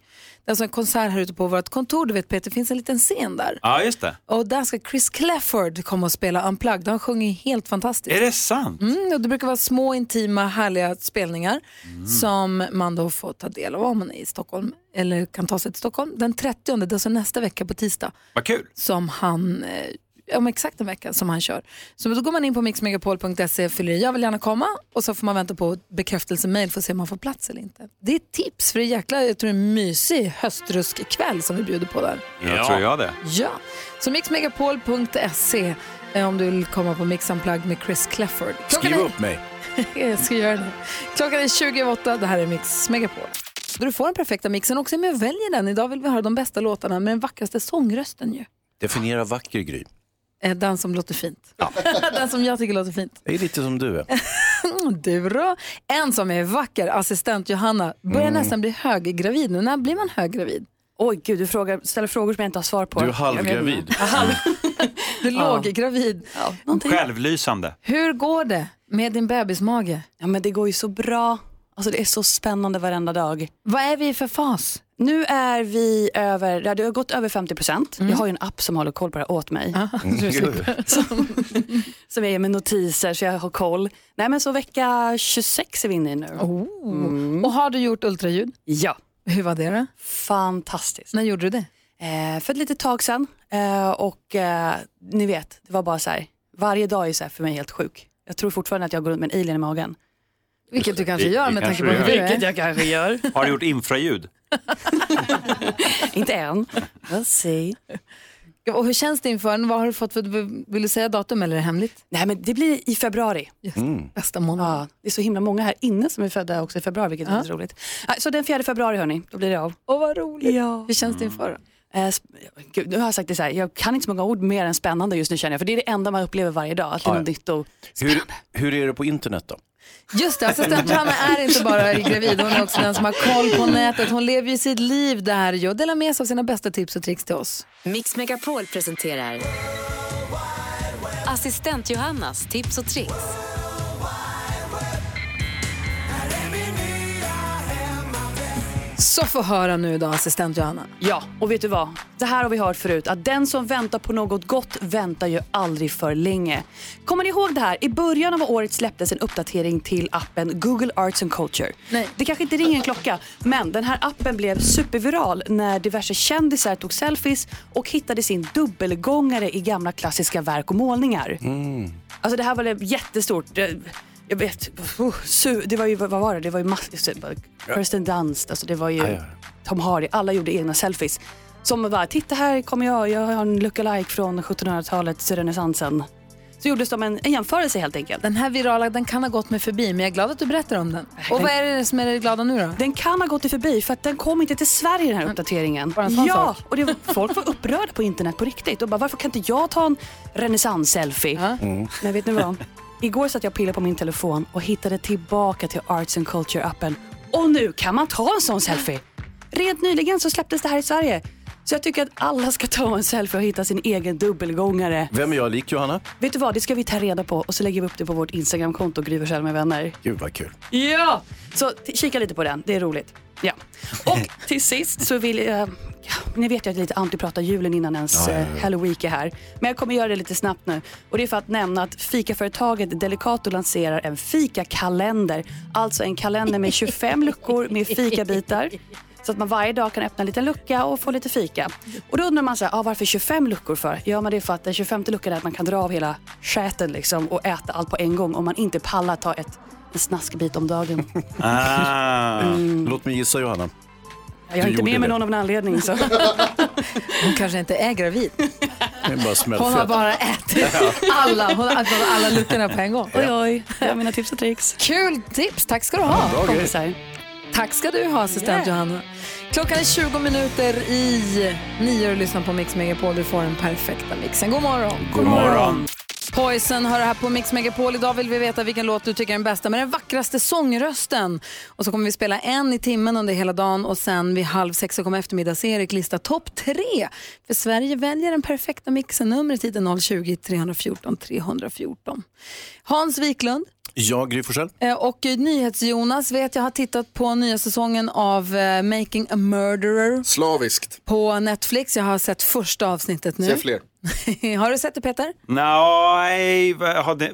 Speaker 2: Det är alltså en konsert här ute på vårt kontor. Du vet Peter, det finns en liten scen där.
Speaker 13: Ja, just det.
Speaker 2: Och där ska Chris Clafford komma och spela Unplugged. Han sjunger ju helt fantastiskt.
Speaker 13: Är det sant?
Speaker 2: Mm, och det brukar vara små, intima, härliga spelningar
Speaker 3: Mm.
Speaker 2: som man då får ta del av om man är i Stockholm eller kan ta sig till Stockholm. Den 30, det är alltså nästa vecka på tisdag,
Speaker 13: Vad kul.
Speaker 2: som han, eh, om exakt en vecka som han kör. Så då går man in på mixmegapol.se, fyller i jag vill gärna komma och så får man vänta på bekräftelsemail för att se om man får plats eller inte. Det är ett tips för det är jäkla, jag tror det är en mysig höstruskkväll som vi bjuder på där.
Speaker 13: Jag tror jag det.
Speaker 2: Ja, så mixmegapol.se eh, om du vill komma på Mix Unplugged med Chris Clafford.
Speaker 3: Skriv upp mig.
Speaker 2: [LAUGHS] Jag ska göra det. Klockan är 28, det här är Mix Megapol. Du får den perfekta mixen också, men jag väljer den. Idag vill vi höra de bästa låtarna med den vackraste sångrösten ju.
Speaker 3: Definiera vacker Gry.
Speaker 2: Eh, Den som låter fint. [LAUGHS] den som jag tycker låter fint. [CLEARS THROAT]
Speaker 3: Det är lite som du är.
Speaker 2: Du då? En som är vacker, assistent Johanna, börjar
Speaker 3: Mm.
Speaker 2: nästan bli höggravid nu. När blir man höggravid?
Speaker 18: Oj gud, du frågar, ställer frågor som jag inte har svar på.
Speaker 3: Du är halvgravid.
Speaker 2: Du låg gravid.
Speaker 13: Självlysande.
Speaker 2: Hur går det med din bebismage?
Speaker 18: Ja men det går ju så bra. Alltså det är så spännande varenda dag.
Speaker 2: Vad är vi för fas?
Speaker 18: Nu är vi över, ja, det har gått över 50 procent. Jag har ju en app som håller koll på det här åt mig.
Speaker 2: Mm. du slipper.
Speaker 18: [LAUGHS] som, som jag ger mig notiser så jag har koll. Nej men så vecka 26 är vi inne i nu.
Speaker 2: Oh.
Speaker 18: Mm.
Speaker 3: Mm.
Speaker 2: Och har du gjort ultraljud?
Speaker 18: Ja. [LAUGHS]
Speaker 2: Hur var det då?
Speaker 18: Fantastiskt.
Speaker 2: När gjorde du det?
Speaker 18: Eh, för ett litet tag sedan. Eh, och eh, ni vet, det var bara så här, varje dag är så här för mig helt sjuk. Jag tror fortfarande att jag går runt med en alien i magen.
Speaker 2: Vilket du
Speaker 13: kanske Det- gör det med tanke kanske på hur du gör. är.
Speaker 18: Vilket jag kanske gör.
Speaker 13: [LAUGHS] Har du gjort infraljud?
Speaker 18: Inte än. We'll see.
Speaker 2: Och hur känns det inför den? Vad har du fått för, vill du säga datum eller är det hemligt?
Speaker 18: Nej men det blir i februari.
Speaker 3: Mm.
Speaker 2: Bästa månaden.
Speaker 18: Ja, det är så himla många här inne som är födda också i februari, vilket är
Speaker 2: Ja.
Speaker 18: väldigt roligt. Nej, Så den 4 februari hörni, då blir det av.
Speaker 2: Åh vad roligt.
Speaker 18: Ja.
Speaker 2: Hur känns det inför
Speaker 18: Eh, sp- Gud, nu har jag sagt det så här, jag kan inte så många ord mer än spännande just nu känner jag, för det är det enda man upplever varje dag, att det är
Speaker 3: Ja,
Speaker 18: något
Speaker 3: ja.
Speaker 18: nytt och
Speaker 3: Hur, hur är det på internet då?
Speaker 2: Just det, assistent Johanna är
Speaker 18: [LAUGHS]
Speaker 2: inte bara gravid, hon är också den som har koll på nätet. Hon lever ju sitt liv där ju och delar med sig av sina bästa tips och tricks till oss.
Speaker 9: Mix Megapol presenterar Assistent Johannas tips och tricks.
Speaker 2: Så få höra nu då, assistent Johanna.
Speaker 18: Ja, och vet du vad? Det här har vi hört förut, att den som väntar på något gott väntar ju aldrig för länge. Kommer ni ihåg det här? I början av året släpptes en uppdatering till appen Google Arts and Culture. Nej. Det kanske inte ringer en klocka, men den här appen blev superviral när diverse kändisar tog selfies och hittade sin dubbelgångare i gamla klassiska verk och målningar. Alltså det här var det jättestort. eh, Jag vet, oh, su- det var ju, vad var det? Det var ju massor. Kirsten Dunst, alltså det var ju
Speaker 1: Aj, aj.
Speaker 18: Tom Hardy. Alla gjorde egna selfies. Som bara, titta här kommer jag, jag har en lookalike från 1700-talets renässansen. Så gjordes de en, en jämförelse helt enkelt.
Speaker 2: Den här virala den kan ha gått mig förbi, men jag är glad att du berättar om den. Och vad är det som är det glada nu då?
Speaker 18: Den kan ha gått dig förbi för att den kom inte till Sverige den här uppdateringen.
Speaker 2: en sån
Speaker 18: ja,
Speaker 2: sak.
Speaker 18: och det, var- folk var upprörda på internet på riktigt och bara varför kan inte jag ta en renässans-selfie? Men vet ni vad? Igår satt jag och pillade på min telefon och hittade tillbaka till Arts and Culture-appen. Och nu kan man ta en sån selfie! Rent nyligen så släpptes det här i Sverige. Så jag tycker att alla ska ta en selfie och hitta sin egen dubbelgångare.
Speaker 3: Vem är jag lik Johanna?
Speaker 18: Vet du vad, det ska vi ta reda på och så lägger vi upp det på vårt Instagramkonto, Gry Forssell med vänner.
Speaker 3: Gud vad kul.
Speaker 18: Ja! Så t- kika lite på den, det är roligt. Ja. Och till sist så vill jag... ja, Ni vet ju att jag är lite anti prata julen innan ens eh,
Speaker 2: Ja, ja,
Speaker 18: ja,
Speaker 2: ja.
Speaker 18: Halloween är här. Men jag kommer göra det lite snabbt nu. Och det är för att nämna att fikaföretaget Delicato lanserar en fikakalender. Alltså en kalender med 25 luckor med fikabitar. Så att man varje dag kan öppna en liten lucka och få lite fika. Och då undrar man så här, ah, varför 25 luckor för? Ja, men det är för att den 25 luckan är att man kan dra av hela skäten liksom och äta allt på en gång om man inte pallar ta ett, en snaskbit om dagen.
Speaker 3: Ah. Låt mig gissa Johanna.
Speaker 18: Jag har
Speaker 3: Du
Speaker 18: inte
Speaker 3: gjorde
Speaker 18: med mig
Speaker 3: det.
Speaker 18: någon av en anledning. Så.
Speaker 2: [LAUGHS] Hon kanske inte är gravid.
Speaker 3: Det är bara smällfett.
Speaker 2: Hon har bara ätit alla, hon har ätit alla luckorna på en gång.
Speaker 18: Oj, oj. Det
Speaker 2: [LAUGHS]
Speaker 18: är mina tips och tricks.
Speaker 2: Kul tips. Tack ska du ha.
Speaker 18: Ja, bra grej. Kompisar.
Speaker 2: Tack ska du ha, assistent Johanna. Klockan är 20 minuter i nio och du lyssnar på Mix Megapol. Du får den perfekta mixen. God morgon.
Speaker 3: God morgon.
Speaker 2: Poison hör här på Mix Megapol. Idag vill vi veta vilken låt du tycker är den bästa med den vackraste sångrösten. Och så kommer vi spela en i timmen under hela dagen och sen vid halv sex så kommer eftermiddags-Erik lista topp tre. För Sverige väljer den perfekta mixen. Numret hit är 020-314 314. Hans Wiklund,
Speaker 3: Jag, Gry Forssell.
Speaker 2: Eh, Och eh, NyhetsJonas vet jag har tittat på nya säsongen av eh, Making a Murderer
Speaker 6: Slaviskt.
Speaker 2: på Netflix. Jag har sett första avsnittet nu.
Speaker 6: Se fler.
Speaker 2: [LAUGHS] har du sett det Peter?
Speaker 13: Nej, vad- har det,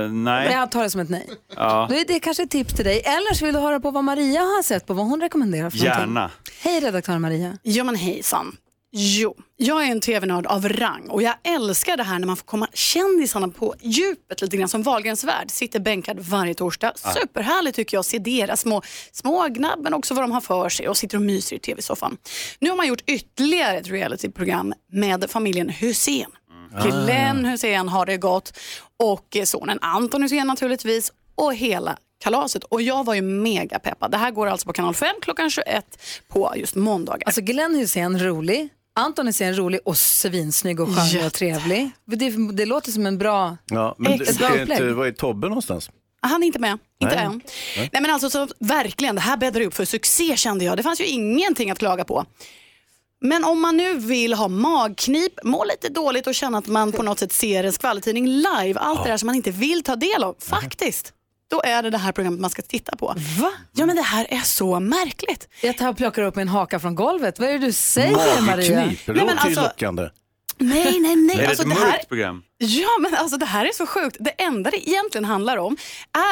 Speaker 13: eh, nej.
Speaker 2: Jag tar det som ett nej.
Speaker 13: Ja.
Speaker 2: Då är det kanske ett tips till dig. Eller så vill du höra på vad Maria har sett på, vad hon rekommenderar för någonting.
Speaker 13: Gärna.
Speaker 2: Hej redaktör Maria.
Speaker 21: Ja men hejsan. Jo, jag är en tv-nörd av rang och jag älskar det här när man får komma kändisarna på djupet lite grann som Wahlgrens värld. Sitter bänkad varje torsdag.
Speaker 22: Ah.
Speaker 21: Superhärligt tycker jag att se deras små, små gnabb men också vad de har för sig och sitter och myser i tv-soffan. Nu har man gjort ytterligare ett realityprogram med familjen Hussein.
Speaker 22: Ah.
Speaker 21: Glenn Hussein har det gott och eh, sonen Anton Hussein naturligtvis och hela kalaset. Och jag var ju mega peppad. Det här går alltså på kanal 5 klockan 21 på just måndagar.
Speaker 2: Alltså Glenn Hussein rolig, Anton Hussein rolig och svinsnygg och charmig och trevlig. Det, det låter som en bra...
Speaker 3: Ja, men
Speaker 2: Exakt.
Speaker 3: det, är inte,
Speaker 2: Upplägg.
Speaker 3: var är Tobbe någonstans?
Speaker 21: Ah, Han är inte med. Inte
Speaker 3: Nej.
Speaker 21: än.
Speaker 3: Nej.
Speaker 21: Nej. men alltså så, verkligen, det här bäddade upp för succé kände jag. Det fanns ju ingenting att klaga på. Men om man nu vill ha magknip, må lite dåligt och känna att man på något sätt ser en skvallertidning live, allt det där som man inte vill ta del av, faktiskt. Då är det det här programmet man ska titta på. Va? Ja men det här är så märkligt.
Speaker 2: Jag tar och plockar upp min haka från golvet. Vad är det du säger Maria?
Speaker 3: Magknip, det låter ju lockande.
Speaker 21: alltså- Nej, nej,
Speaker 13: Det
Speaker 21: nej.
Speaker 13: är
Speaker 21: Alltså,
Speaker 13: ett
Speaker 21: det här,
Speaker 13: mörkt program.
Speaker 21: Ja, men alltså det här är så sjukt. Det enda det egentligen handlar om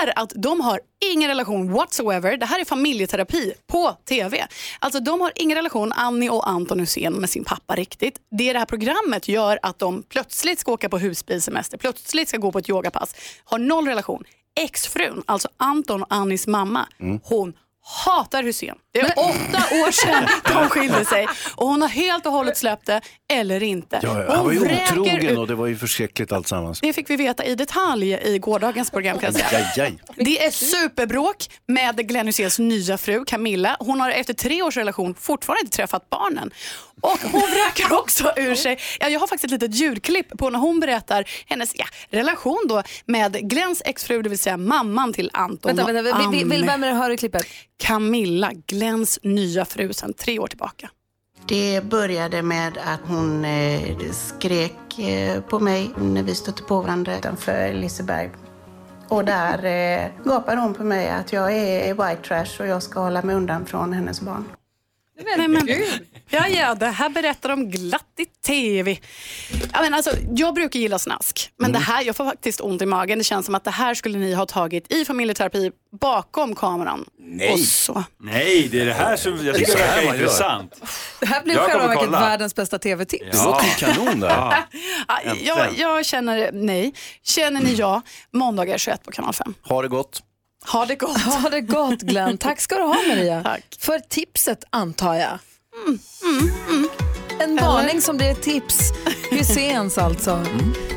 Speaker 21: är att de har ingen relation whatsoever. Det här är familjeterapi på TV. Alltså de har ingen relation, Annie och Anton Hussein, med sin pappa riktigt. Det det här programmet gör att de plötsligt ska åka på husbilsemester, plötsligt ska gå på ett yogapass, har noll relation. Exfrun, alltså Anton och Annies mamma,
Speaker 3: Mm.
Speaker 21: hon hatar Hussein. Det är åtta år sedan de skilde sig och hon har helt och hållet släppt det, eller inte.
Speaker 3: Ja, ja,
Speaker 21: Hon
Speaker 3: han var ju
Speaker 21: vräker
Speaker 3: otrogen
Speaker 21: ut-
Speaker 3: och det var ju förskräckligt alltsammans.
Speaker 21: det fick vi veta i detalj i gårdagens program kan jag säga.
Speaker 3: Aj, aj.
Speaker 21: Det är superbråk med Glenn Hyséns nya fru Camilla. Hon har efter tre års relation fortfarande inte träffat barnen. Och
Speaker 2: [LAUGHS]
Speaker 21: hon vräker också ur sig, ja, jag har faktiskt ett litet ljudklipp på när hon berättar hennes ja, relation då med Glenns exfru, det vill säga mamman till Anton
Speaker 2: Vänta, vänta, vi- vi- vi- vem är det hör i klippet?
Speaker 21: Camilla, Glenns nya fru sedan tre år tillbaka.
Speaker 20: Det började med att hon eh, skrek eh, på mig när vi stötte på varandra utanför Liseberg. Och där eh, gapar hon på mig att jag är white trash och jag ska hålla mig undan från hennes barn.
Speaker 21: Nej, men, ja, ja, det här berättar de glatt i TV. Ja, men alltså, jag brukar gilla snask, men
Speaker 2: Mm.
Speaker 21: det här, jag får faktiskt ont i magen. Det känns som att det här skulle ni ha tagit i familjeterapi bakom kameran. Och så.
Speaker 13: Nej, det är det här som jag
Speaker 21: Det är
Speaker 13: tycker
Speaker 21: så här
Speaker 13: verkar
Speaker 21: man gör.
Speaker 13: intressant.
Speaker 1: Det här blev
Speaker 13: Jag kommer
Speaker 1: själva verket
Speaker 13: kolla.
Speaker 1: världens bästa tv-tips.
Speaker 13: Det låter ju kanon det. Ja.
Speaker 21: Ja,
Speaker 3: Äntligen.
Speaker 21: jag, jag känner nej. Känner ni ja? Måndagar 21 på kanal 5.
Speaker 3: Ha det gott.
Speaker 21: Ha det gott.
Speaker 2: Ha det gott Glenn. Tack ska du ha Maria. För tipset antar jag. En varning som det är tips. Vi ses alltså.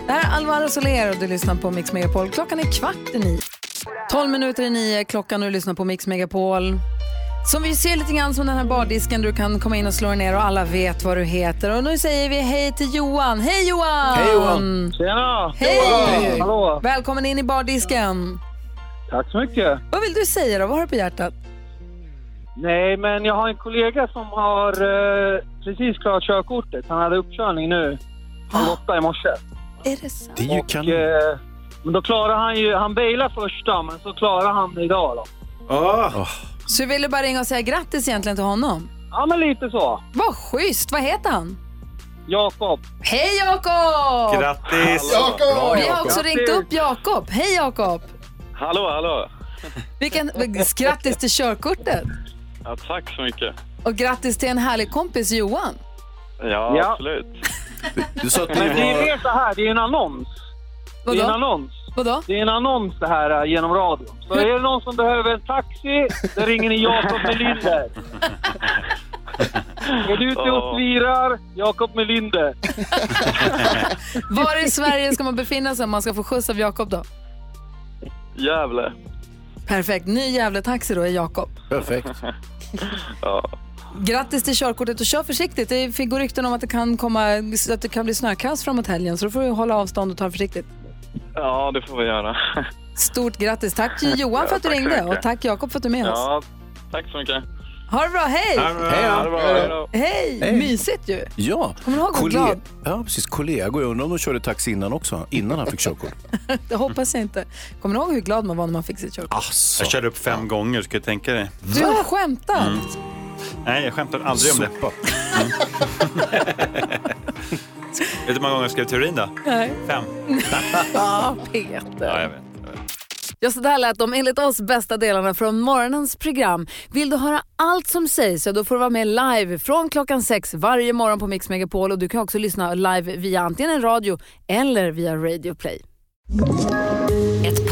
Speaker 2: Det här är Alvaro Soler och du lyssnar på Mix Megapol. Klockan är kvart i nio. 12 minuter i nio klockan och du lyssnar på Mix Megapol. Som vi ser lite grann som den här bardisken där du kan komma in och slå dig ner och alla vet vad du heter. Och nu säger vi hej till Johan. Hej Johan!
Speaker 17: Tjena!
Speaker 2: Hej!
Speaker 17: Hallå!
Speaker 2: Välkommen in i bardisken.
Speaker 17: Tack så mycket.
Speaker 2: Vad vill du säga då? Vad har du på hjärtat?
Speaker 17: Nej, men jag har en kollega som har eh, precis klarat körkortet. Han hade uppkörning nu halv åtta i morse.
Speaker 2: Är det sant?
Speaker 3: Det är ju
Speaker 17: Och, eh, men då klarar han ju... Han bailade första, men så klarar han det idag då.
Speaker 3: Ah.
Speaker 2: Så du ville bara ringa och säga grattis egentligen till honom?
Speaker 17: Ja, men lite så.
Speaker 2: Vad schysst! Vad heter han?
Speaker 17: Jakob.
Speaker 2: Hej Jakob!
Speaker 17: Grattis!
Speaker 2: Vi har också ringt upp Jakob. Hej Jakob!
Speaker 5: Hallå, hallå!
Speaker 2: Vilken... Grattis till körkortet!
Speaker 5: Ja, tack så mycket.
Speaker 2: Och grattis till en härlig kompis Johan.
Speaker 5: Ja,
Speaker 17: Ja.
Speaker 5: absolut.
Speaker 3: Du sa att
Speaker 17: Men det är mer så här, det är en annons. Det är
Speaker 2: Vadå?
Speaker 17: en annons.
Speaker 2: Vadå?
Speaker 17: Det är en annons det här eh, genom radion. Så är det någon som behöver en taxi, då ringer ni Jakob Melinder. Är du ute och svirar, Jakob Melinder.
Speaker 2: Var i Sverige ska man befinna sig om man ska få skjuts av Jakob då?
Speaker 5: Gävle.
Speaker 2: Perfekt. Ny Gävle-taxi då är Jakob.
Speaker 3: Perfekt.
Speaker 5: ja.
Speaker 2: Grattis till körkortet och kör försiktigt. Det fick- går rykten om att det kan, komma, att det kan bli snökaos framåt helgen så då får du hålla avstånd och ta det försiktigt.
Speaker 5: ja, det får vi göra.
Speaker 2: Stort grattis. Tack till Johan
Speaker 5: Ja,
Speaker 2: för att du
Speaker 5: tack så
Speaker 2: ringde
Speaker 5: mycket.
Speaker 2: och tack Jakob för att du är med oss.
Speaker 5: Ja, tack så mycket.
Speaker 2: Ha det bra, hej!
Speaker 5: Ha det bra. Hej då. Ha det bra, hej då.
Speaker 2: Hej!
Speaker 5: Hej.
Speaker 2: Mysigt
Speaker 1: [LAUGHS]
Speaker 2: ju.
Speaker 3: Ja,
Speaker 2: Kommer du ihåg hur glad-
Speaker 3: ja precis. kollegor. Jag undrar om de körde taxi innan också, innan han fick körkort.
Speaker 2: Det hoppas jag inte. Kommer du ihåg hur glad man var när man fick sitt körkort?
Speaker 13: Jag körde upp fem gånger, ska jag tänka dig.
Speaker 2: Du skämtar!
Speaker 13: Mm. Nej, jag skämtar aldrig om det. Mm. [LAUGHS] vet du hur många gånger jag skrev teorin då?
Speaker 5: [LAUGHS]
Speaker 2: Nej.
Speaker 13: Fem.
Speaker 2: Ja, Peter.
Speaker 13: Ja, jag vet.
Speaker 1: Ja, så där lät de enligt oss bästa delarna från morgonens program. Vill du höra allt som sägs så då får du vara med live från klockan sex varje morgon på Mix Megapol och du kan också lyssna live via antingen en radio eller via Radio Play.
Speaker 9: Ett